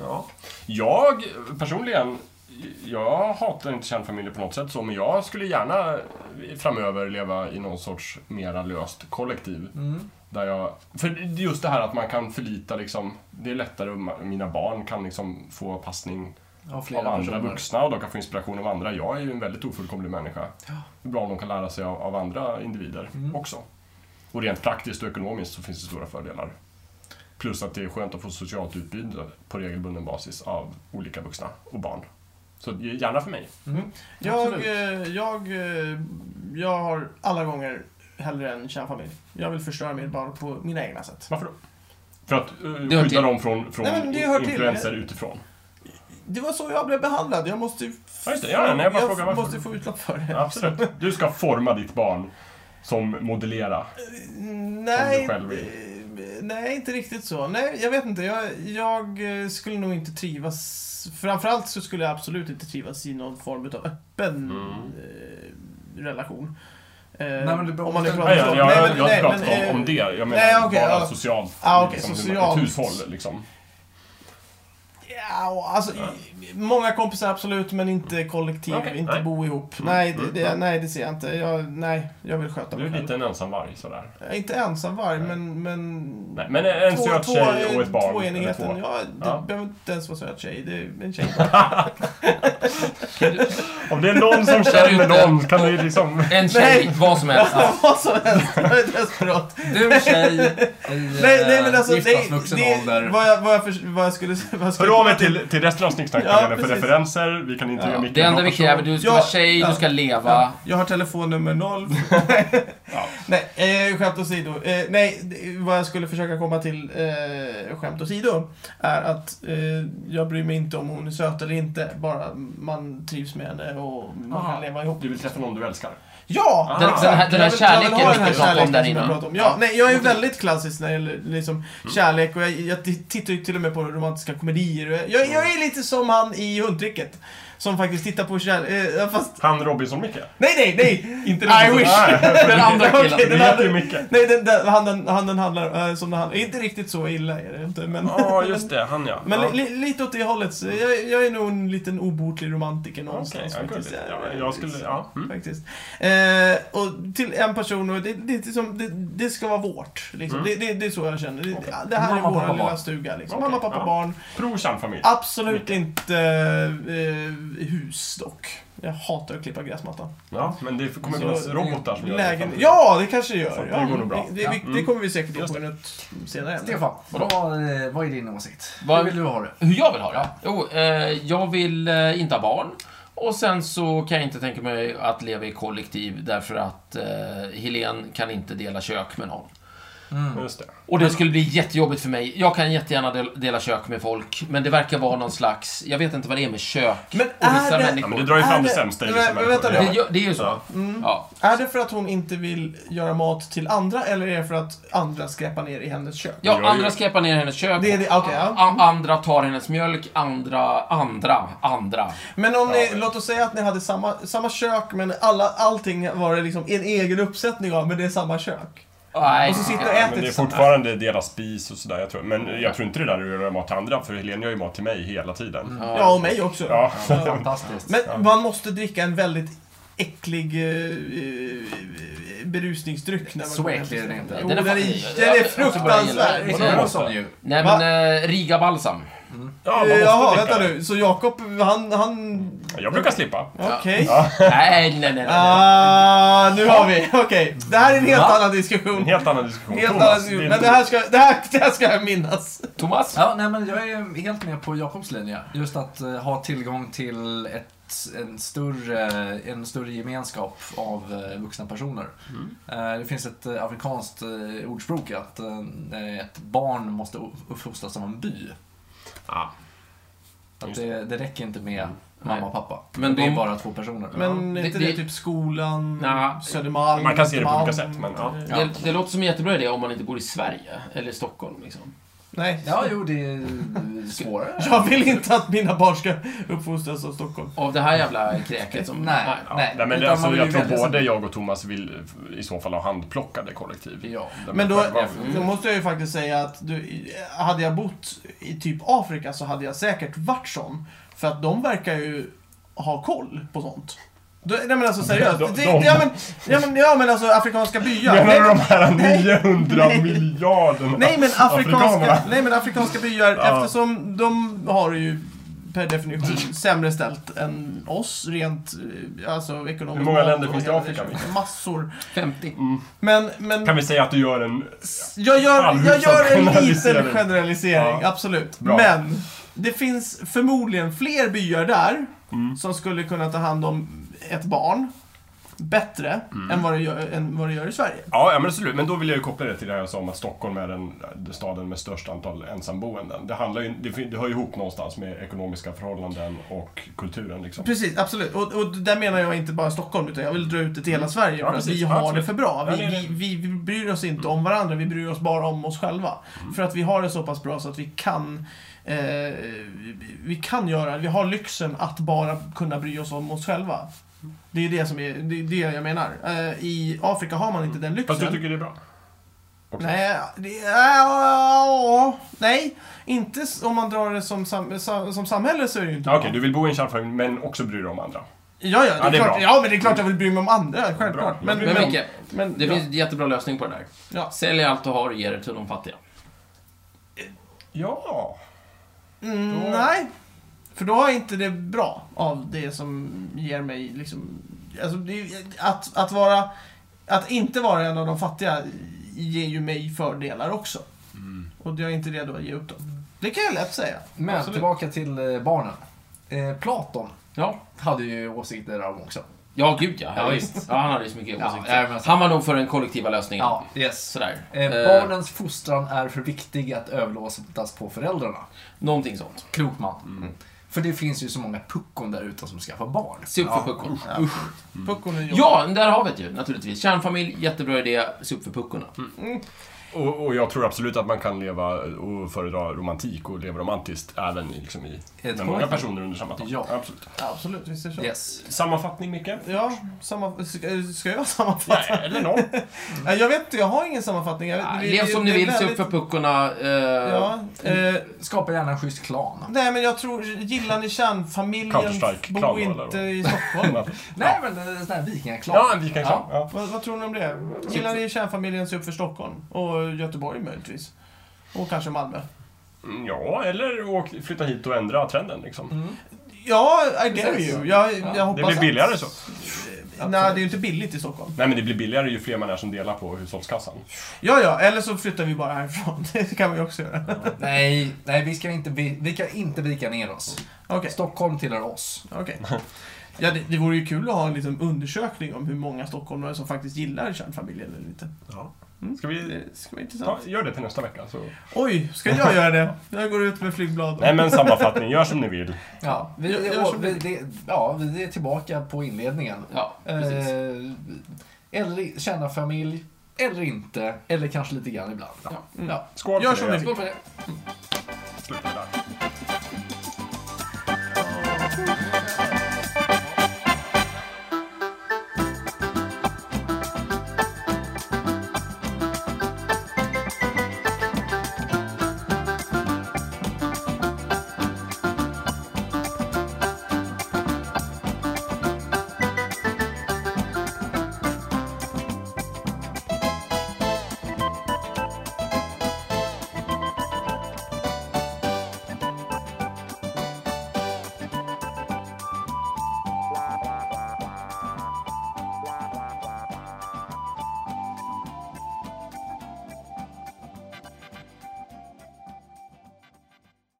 Speaker 3: Ja. Jag personligen, jag hatar inte kärnfamiljer på något sätt så, men jag skulle gärna framöver leva i någon sorts mera löst kollektiv.
Speaker 1: Mm.
Speaker 3: Där jag, för just det här att man kan förlita liksom, det är lättare, om ma- mina barn kan liksom få passning
Speaker 2: Av
Speaker 3: av andra vuxna och de kan få inspiration av andra. Jag är ju en väldigt ofullkomlig människa. Hur bra de kan lära sig av, av andra individer
Speaker 1: Mm.
Speaker 3: också. Och rent praktiskt och ekonomiskt så finns det stora fördelar. Plus att det är skönt att få socialt utbyte på regelbunden basis av olika vuxna och barn. Så gärna för mig.
Speaker 1: Jag,
Speaker 2: Absolut.
Speaker 1: eh, jag, eh, jag har alla gånger hellre en kärnfamilj. Jag vill förstöra mitt barn på mina egna sätt.
Speaker 3: Varför då? För att eh,
Speaker 4: Det hör
Speaker 3: skydda
Speaker 4: till.
Speaker 3: dem från, från
Speaker 1: Nej, men det hör till.
Speaker 3: influenser
Speaker 1: [laughs]
Speaker 3: utifrån.
Speaker 1: Det var så jag blev behandlad. Jag måste ju...
Speaker 3: Ja, just det. Ja, nej, jag bara frågar varför.
Speaker 1: måste få utlopp för det.
Speaker 3: Absolut. Du ska forma ditt barn som modellera.
Speaker 1: Eh, Nej,
Speaker 3: Som du själv vill.
Speaker 1: eh, nej, inte riktigt så. Nej, jag vet inte. Jag, jag eh, skulle nog inte trivas... Framförallt så skulle jag absolut inte trivas i någon form av öppen
Speaker 3: Mm.
Speaker 1: eh, relation. Eh,
Speaker 2: Nej, men det beror-
Speaker 1: om man nu
Speaker 2: Nej,
Speaker 1: pratar
Speaker 3: Nej,
Speaker 1: så.
Speaker 3: jag, jag,
Speaker 1: Nej, men-
Speaker 3: jag
Speaker 1: nej,
Speaker 3: pratar
Speaker 1: men, eh,
Speaker 3: om, om det. Jag menar
Speaker 1: nej, okej,
Speaker 3: bara
Speaker 1: ja.
Speaker 3: socialt.
Speaker 1: Ah, okej,
Speaker 3: liksom,
Speaker 1: socialt.
Speaker 3: Ett hushåll liksom.
Speaker 1: Ja, och alltså, i- många kompisar absolut, men inte kollektiv,
Speaker 3: Okej,
Speaker 1: inte
Speaker 3: nej. Mm.
Speaker 1: bo ihop. Nej, det, det, nej, det ser jag inte. Jag, nej, jag vill sköta
Speaker 3: Du
Speaker 1: mig
Speaker 3: är
Speaker 1: själv.
Speaker 3: lite en ensam varg sådär.
Speaker 1: Jag är inte ensam varg, men... men...
Speaker 3: Nej, men en
Speaker 1: Två-
Speaker 3: söt
Speaker 1: två-
Speaker 3: tjej och ett barn. eller
Speaker 1: Tvåenigheten,
Speaker 3: två.
Speaker 1: ja, det
Speaker 3: Ja.
Speaker 1: behöver inte ens vara söt tjej. Det är en tjej
Speaker 3: [laughs] Om det är någon som känner någon kan du liksom...
Speaker 4: En tjej, vad som helst.
Speaker 1: Ja, vad som helst. Jag är desperat.
Speaker 2: Du tjej i
Speaker 1: Nej, nej men alltså,
Speaker 2: giftas
Speaker 1: det,
Speaker 2: vuxen
Speaker 1: det,
Speaker 2: ålder.
Speaker 1: vad, jag, vad, jag, förs- vad jag skulle... Vad jag skulle
Speaker 3: Hör av er Välkomna till, till resten av Snicksnack
Speaker 1: Ja,
Speaker 3: vad gäller för
Speaker 1: precis.
Speaker 3: referenser. Vi kan intervjua
Speaker 4: Ja,
Speaker 3: Mikael
Speaker 4: det enda vi
Speaker 3: Jakobsson.
Speaker 4: kräver, du ska
Speaker 1: Ja,
Speaker 4: vara tjej,
Speaker 1: ja.
Speaker 4: du ska leva.
Speaker 1: Ja, jag har telefonnummer noll.
Speaker 3: [laughs]
Speaker 1: Nej, eh, skämt åsido. Eh, nej, det- vad jag skulle försöka komma till, eh, skämt åsido, är att eh, jag bryr mig inte om hon är söt eller inte. Bara man trivs med henne och man
Speaker 3: Aha.
Speaker 1: kan leva ihop.
Speaker 3: Du vill träffa någon du älskar.
Speaker 1: Ja!
Speaker 3: Ah.
Speaker 4: Den, den här, den här
Speaker 1: Jag vill- jag vill
Speaker 4: kärleken
Speaker 1: ha
Speaker 4: vi
Speaker 1: den här
Speaker 4: pratade om
Speaker 1: kärleken
Speaker 4: där
Speaker 1: som jag
Speaker 4: innan.
Speaker 1: pratade om. Ja, nej, jag är
Speaker 3: Mm.
Speaker 1: väldigt klassisk när det gäller liksom, kärlek och jag, jag t- tittar ju till och med på romantiska komedier. Och jag, jag, jag är lite som han i Hundtricket. Som faktiskt tittar på kärlek... Eh, fast...
Speaker 3: Han Robinson-Micke.
Speaker 1: Nej, nej, nej!
Speaker 3: Inte Ah.
Speaker 1: I wish. [laughs]
Speaker 4: Den andra
Speaker 1: Okej,
Speaker 4: killen.
Speaker 3: Du
Speaker 1: den
Speaker 3: heter ju
Speaker 1: andra...
Speaker 3: Micke.
Speaker 1: Nej, den, den, han, den, han den handlar eh, som den handlar. Inte riktigt så illa är det inte, men...
Speaker 3: Ja, just det. Han ja.
Speaker 1: [laughs] Men
Speaker 3: ja.
Speaker 1: li, li, lite åt det hållet. Så jag, jag är nog en liten obotlig romantiker
Speaker 3: Okej,
Speaker 1: någonstans
Speaker 3: ja,
Speaker 1: faktiskt.
Speaker 3: gulligt.
Speaker 1: Jag-
Speaker 3: Ja, jag skulle... Ja. Mm.
Speaker 1: faktiskt. Eh, och till en person, och det, det, är liksom, det, det ska vara vårt. Liksom.
Speaker 3: Mm.
Speaker 1: det, det, det är så jag känner. Det,
Speaker 3: Okej.
Speaker 1: det här
Speaker 2: Mamma,
Speaker 1: är vår
Speaker 2: pappa,
Speaker 1: lilla
Speaker 2: barn.
Speaker 1: stuga. Liksom.
Speaker 3: Okej,
Speaker 1: Mamma, pappa,
Speaker 3: ja.
Speaker 1: barn.
Speaker 3: Pro kärnfamilj.
Speaker 1: Absolut inte eh, hus dock. Jag hatar att klippa gräsmattan.
Speaker 3: Ja, men det kommer
Speaker 1: Så-
Speaker 3: finnas robotar som gör
Speaker 1: Lägen...
Speaker 3: det.
Speaker 1: Ja, det kanske det
Speaker 3: Så
Speaker 1: gör.
Speaker 3: det
Speaker 1: Ja,
Speaker 3: går nog bra.
Speaker 1: Det, det,
Speaker 2: Ja.
Speaker 1: vi- det
Speaker 3: Mm.
Speaker 1: kommer vi säkert in
Speaker 3: Just
Speaker 1: på i något senare. ämne.
Speaker 2: Stefan,
Speaker 4: Vadå?
Speaker 2: vad, eh, vad är din åsikt? Hur
Speaker 4: Vad-
Speaker 2: vill du ha det?
Speaker 4: Hur jag vill ha det? Jo, eh, jag vill eh, inte ha barn. Och sen så kan jag inte tänka mig att leva i kollektiv därför att eh, Helen kan inte dela kök med någon.
Speaker 2: Mm.
Speaker 3: Just det.
Speaker 4: Och det skulle bli jättejobbigt för mig. Jag kan jättegärna del- dela kök med folk, men det verkar vara någon slags... Jag vet inte vad det är med kök
Speaker 1: Men
Speaker 4: och vissa
Speaker 1: är det-
Speaker 3: Ja,
Speaker 4: människor.
Speaker 3: men du drar ju
Speaker 1: Är
Speaker 3: fram
Speaker 1: Äh, det-
Speaker 3: det sämsta i
Speaker 1: Men-
Speaker 3: vissa
Speaker 1: men
Speaker 3: människor.
Speaker 1: vänta
Speaker 3: Ja.
Speaker 1: nu.
Speaker 4: det, det är ju så.
Speaker 3: Ja.
Speaker 4: Ja.
Speaker 1: Är det för att hon inte vill göra mat till andra eller är det för att andra skräpar ner i hennes kök?
Speaker 3: Jag
Speaker 4: Ja,
Speaker 3: gör
Speaker 4: andra
Speaker 3: ju-
Speaker 4: skräpar ner hennes kök.
Speaker 1: Det är det- okej, ja.
Speaker 4: A- Andra tar hennes mjölk, andra, andra, andra.
Speaker 1: Men om ni, låt oss säga att ni hade samma, samma kök men alla, allting var det liksom en egen uppsättning av, men det är samma kök.
Speaker 4: Nej,
Speaker 1: Och så sitter
Speaker 4: ja.
Speaker 1: och äter
Speaker 3: Men det är
Speaker 1: tillsammans.
Speaker 3: fortfarande deras spis och sådär. Jag tror. Men jag tror inte det där är att göra mat till andra, för Helene gör ju mat till mig hela tiden.
Speaker 1: Ja, och mig också.
Speaker 3: Ja.
Speaker 2: Fantastiskt.
Speaker 1: Men man måste dricka en väldigt äcklig eh, eh, berusningsdryck. När man
Speaker 2: Så
Speaker 1: kommer hem
Speaker 2: äcklig är den inte.
Speaker 1: Jo,
Speaker 4: Den
Speaker 1: den
Speaker 4: är
Speaker 1: är, den
Speaker 4: fan-
Speaker 1: är,
Speaker 4: jag- jag gillar
Speaker 1: fruktansvärd.
Speaker 4: den.
Speaker 2: Visst
Speaker 3: Vadå?
Speaker 2: är det sån eh, ju?
Speaker 4: Nej
Speaker 1: Va?
Speaker 4: men eh, Riga balsam.
Speaker 3: Ja, man måste
Speaker 1: Eh, Jaha,
Speaker 3: dricka
Speaker 1: vänta
Speaker 3: det.
Speaker 1: nu. Så Jakob, han... han
Speaker 3: Jag brukar slippa.
Speaker 1: Okej.
Speaker 4: nej, nej, nej, nej. nej.
Speaker 1: Ah, nu har vi. Okej. Det här är en helt
Speaker 2: Va?
Speaker 1: annan
Speaker 3: En
Speaker 1: diskussion.
Speaker 3: helt annan diskussion.
Speaker 1: Helt annan
Speaker 3: Thomas, det
Speaker 1: diskussion.
Speaker 3: är
Speaker 1: Men det här, ska, det, här, det här ska jag minnas.
Speaker 4: Thomas?
Speaker 2: Ja, nej, men jag är helt med på Jakobs linje. Just att eh, ha tillgång till ett, en, större, en större gemenskap av eh, vuxna personer. Eh, det finns ett eh, afrikanskt eh, ordspråk att eh, ett barn måste u- uppfostras som en by.
Speaker 3: Ja.
Speaker 2: Att
Speaker 3: Just
Speaker 2: det, det räcker inte med
Speaker 4: Nej.
Speaker 2: mamma och pappa.
Speaker 4: Men
Speaker 2: Men det är
Speaker 4: de-
Speaker 2: bara två personer.
Speaker 1: Men är
Speaker 4: Det-
Speaker 1: inte
Speaker 4: det-
Speaker 1: det, typ skolan,
Speaker 4: Nja.
Speaker 1: Södermalm,
Speaker 3: Man kan se det på olika
Speaker 1: Östermalm?
Speaker 3: sätt, men ja.
Speaker 1: Eh,
Speaker 4: Det, det låter som en jättebra idé om man inte bor i Sverige eller i Stockholm. Liksom.
Speaker 1: Nej.
Speaker 2: Ja, jo, det är eh, svårare.
Speaker 1: Jag vill inte att mina barn ska uppfostras av Stockholm.
Speaker 4: Av det här jävla kräket som...
Speaker 2: Liksom. Nej.
Speaker 3: Ja.
Speaker 2: Nej,
Speaker 3: Nej, men det,
Speaker 2: utan
Speaker 3: alltså,
Speaker 2: man vill
Speaker 3: jag
Speaker 2: ju
Speaker 3: tror
Speaker 2: välja
Speaker 3: både
Speaker 2: sin-
Speaker 3: jag och Thomas vill eh, i så fall ha handplockade kollektiv.
Speaker 2: Ja.
Speaker 3: Där
Speaker 1: Men då,
Speaker 3: man själva-
Speaker 1: då måste jag ju faktiskt säga att du, hade jag bott i typ Afrika så hade jag säkert varit sån. För att de verkar ju ha koll på sånt. Då- Nej men alltså seriöst.
Speaker 3: De-
Speaker 1: Det,
Speaker 3: de-
Speaker 1: ja, men, ja, men, ja men alltså afrikanska byar.
Speaker 3: Menar
Speaker 1: Nej,
Speaker 3: du de här 900
Speaker 1: Nej.
Speaker 3: miljarderna
Speaker 1: Nej men, afrikanska,
Speaker 3: afrikanerna?
Speaker 1: nej men afrikanska byar,
Speaker 3: Ja.
Speaker 1: eftersom de har ju per definition sämre ställt än oss rent eh, alltså, ekonomiskt.
Speaker 3: Hur många
Speaker 1: mat
Speaker 3: länder
Speaker 1: och
Speaker 3: finns det i
Speaker 1: hela-
Speaker 3: Afrika, Mikael?
Speaker 1: Massor.
Speaker 4: 50.
Speaker 1: Men, men
Speaker 3: Kan vi säga att du gör en...
Speaker 1: jag gör,
Speaker 3: Allmän
Speaker 1: jag gör en liten
Speaker 3: generalisering.
Speaker 1: generalisering,
Speaker 3: Ja.
Speaker 1: absolut.
Speaker 3: Bra.
Speaker 1: Men det finns förmodligen fler byar där
Speaker 3: Mm.
Speaker 1: som skulle kunna ta hand om ett barn bättre
Speaker 3: Mm.
Speaker 1: än, vad det gör, än vad det gör i Sverige.
Speaker 3: Ja, ja, men absolut. Men då vill jag ju koppla det till det här jag sa om att Stockholm är den den staden med störst antal ensamboenden. Det, handlar ju, det, fin- det hör ju ihop någonstans med ekonomiska förhållanden och kulturen liksom.
Speaker 1: Precis, absolut. Och, och där menar jag inte bara Stockholm, utan jag vill dra ut det till hela Sverige.
Speaker 3: Mm. Ja,
Speaker 1: för att
Speaker 3: precis.
Speaker 1: vi
Speaker 3: Ja,
Speaker 1: har
Speaker 3: absolut.
Speaker 1: det för bra. Vi,
Speaker 3: Ja, det är
Speaker 1: vi,
Speaker 3: det.
Speaker 1: vi, vi bryr oss inte om varandra, vi bryr oss bara om oss själva.
Speaker 3: Mm.
Speaker 1: För att vi har det så pass bra så att vi kan eh, vi- vi kan göra, vi har lyxen att bara kunna bry oss om oss själva.
Speaker 3: Mm.
Speaker 1: Det är ju det som är, det, är det jag menar. Eh, I Afrika har man inte den lyxen.
Speaker 3: Mm. Fast du tycker det är bra? också?
Speaker 1: Nej, det, ja, nej, inte s- om man drar det som, sam, sa- som samhälle så är det ju inte
Speaker 3: Ja, Okej, du vill bo i en kärnfamilj men också bry dig om andra.
Speaker 1: Ja, ja, det
Speaker 3: Ja,
Speaker 1: är
Speaker 3: det är
Speaker 1: klart,
Speaker 3: bra.
Speaker 1: ja, men det är klart jag vill bry mig om andra, självklart.
Speaker 3: Bra.
Speaker 1: Men,
Speaker 3: Jag bryr mig
Speaker 4: Men
Speaker 1: men,
Speaker 3: om-
Speaker 4: Micke,
Speaker 1: men,
Speaker 4: det
Speaker 1: ja,
Speaker 4: finns en jättebra lösning på det där.
Speaker 1: ja.
Speaker 4: Sälj allt du har och ge det till de fattiga.
Speaker 3: Ja.
Speaker 1: Mm,
Speaker 3: då-
Speaker 1: Nej, för då har jag inte det bra av det som ger mig liksom... Alltså, det, är- att, att vara... Att inte vara en av
Speaker 4: Mm.
Speaker 1: de fattiga ger ju mig fördelar också. Och jag är inte redo att ge upp dem. Det kan jag lätt säga.
Speaker 2: Men
Speaker 1: Absolut.
Speaker 2: tillbaka till eh, barnen. Eh, Platon
Speaker 4: Ja.
Speaker 2: hade ju åsikter av också.
Speaker 4: Ja, gud ja.
Speaker 2: Ja,
Speaker 4: Ja, visst. ja, han hade ju så mycket
Speaker 2: Ja,
Speaker 4: åsikter.
Speaker 2: jajamensan.
Speaker 4: han var nog för den kollektiva lösningen.
Speaker 2: Ja, yes.
Speaker 4: Sådär.
Speaker 2: Eh,
Speaker 4: Eh,
Speaker 2: barnens fostran är för viktig att överlåtas på föräldrarna.
Speaker 4: någonting sånt.
Speaker 2: Klok man.
Speaker 3: Mm.
Speaker 2: För det finns ju så många puckon där ute som skaffar barn.
Speaker 4: Se upp för
Speaker 2: Ja.
Speaker 4: puckon.
Speaker 1: Puckon är jobbig.
Speaker 4: Mm. Ja, där har vi det ju naturligtvis. Kärnfamilj, jättebra idé. Se upp för puckorna.
Speaker 1: Mm.
Speaker 3: Och, och jag tror absolut att man kan leva och föredra romantik och leva romantiskt även i, liksom i,
Speaker 2: Ett
Speaker 3: med många
Speaker 2: korrekt.
Speaker 3: personer under samma tak.
Speaker 2: Ja.
Speaker 3: Absolut.
Speaker 1: Absolut, visst är det så.
Speaker 2: Yes.
Speaker 3: Sammanfattning, Micke?
Speaker 1: Ja, samma, ska, ska jag sammanfatta?
Speaker 3: Nej, eller någon.
Speaker 1: Nej, Jag vet inte, jag har ingen sammanfattning. Jag,
Speaker 4: Ja,
Speaker 1: vet- det-
Speaker 4: Lev
Speaker 1: det-
Speaker 4: som
Speaker 1: det
Speaker 4: ni
Speaker 1: är
Speaker 4: vill, se upp
Speaker 1: väldigt-
Speaker 4: för Mm. puckorna. Eh,
Speaker 1: Ja, eh,
Speaker 2: Skapa gärna en schysst klan.
Speaker 1: nej men jag tror, gillar ni kärnfamiljen,
Speaker 3: Counter-Strike,
Speaker 1: bo
Speaker 3: klan,
Speaker 1: inte
Speaker 3: eller?
Speaker 1: i
Speaker 3: [laughs]
Speaker 1: Stockholm.
Speaker 2: Nej men en sån här vikingaklan.
Speaker 3: Ja, en vikingaklan.
Speaker 2: Ja.
Speaker 3: Ja.
Speaker 1: vad, vad tror ni om det? Gillar ni kärnfamiljen, se upp för Stockholm. Och Göteborg möjligtvis. Och kanske Malmö.
Speaker 3: Mm, Ja, eller åk, flytta hit och ändra trenden liksom.
Speaker 1: Ja, I dare
Speaker 2: Precis.
Speaker 1: you. Jag,
Speaker 2: Ja.
Speaker 1: jag
Speaker 3: Det
Speaker 1: hoppas
Speaker 3: blir billigare
Speaker 1: att...
Speaker 3: så.
Speaker 1: Nej, det är ju inte billigt i Stockholm.
Speaker 3: Nej, men det blir billigare ju fler man är som delar på hushållskassan.
Speaker 1: Ja, ja, eller så flyttar vi bara härifrån. [laughs] Det kan vi också göra.
Speaker 2: Nej, nej vi, ska inte, vi, vi kan inte vika ner oss.
Speaker 1: Okej,
Speaker 2: Stockholm tillhör oss.
Speaker 3: [laughs]
Speaker 1: okej. Ja, det, det vore ju kul att ha en liten undersökning om hur många stockholmare som faktiskt gillar kärnfamiljen eller inte.
Speaker 3: Ska vi...
Speaker 1: Det ska vara
Speaker 3: Ta,
Speaker 1: intressant.
Speaker 3: gör det till nästa vecka. Så.
Speaker 1: Oj, ska jag göra det? Jag går ut med flygblad.
Speaker 3: Nej, men sammanfattning. Gör som ni vill.
Speaker 2: Ja, vi,
Speaker 1: Jag- jag-
Speaker 2: och vi, det, ja, vi är tillbaka på inledningen.
Speaker 4: ja, precis.
Speaker 2: Eh, eller känna familj, eller inte, eller kanske lite grann ibland.
Speaker 4: Ja.
Speaker 2: Ja.
Speaker 3: Skål
Speaker 1: Gör
Speaker 3: för
Speaker 1: som
Speaker 3: det.
Speaker 1: ni vill.
Speaker 4: Skål för det.
Speaker 3: Sluta med det. här.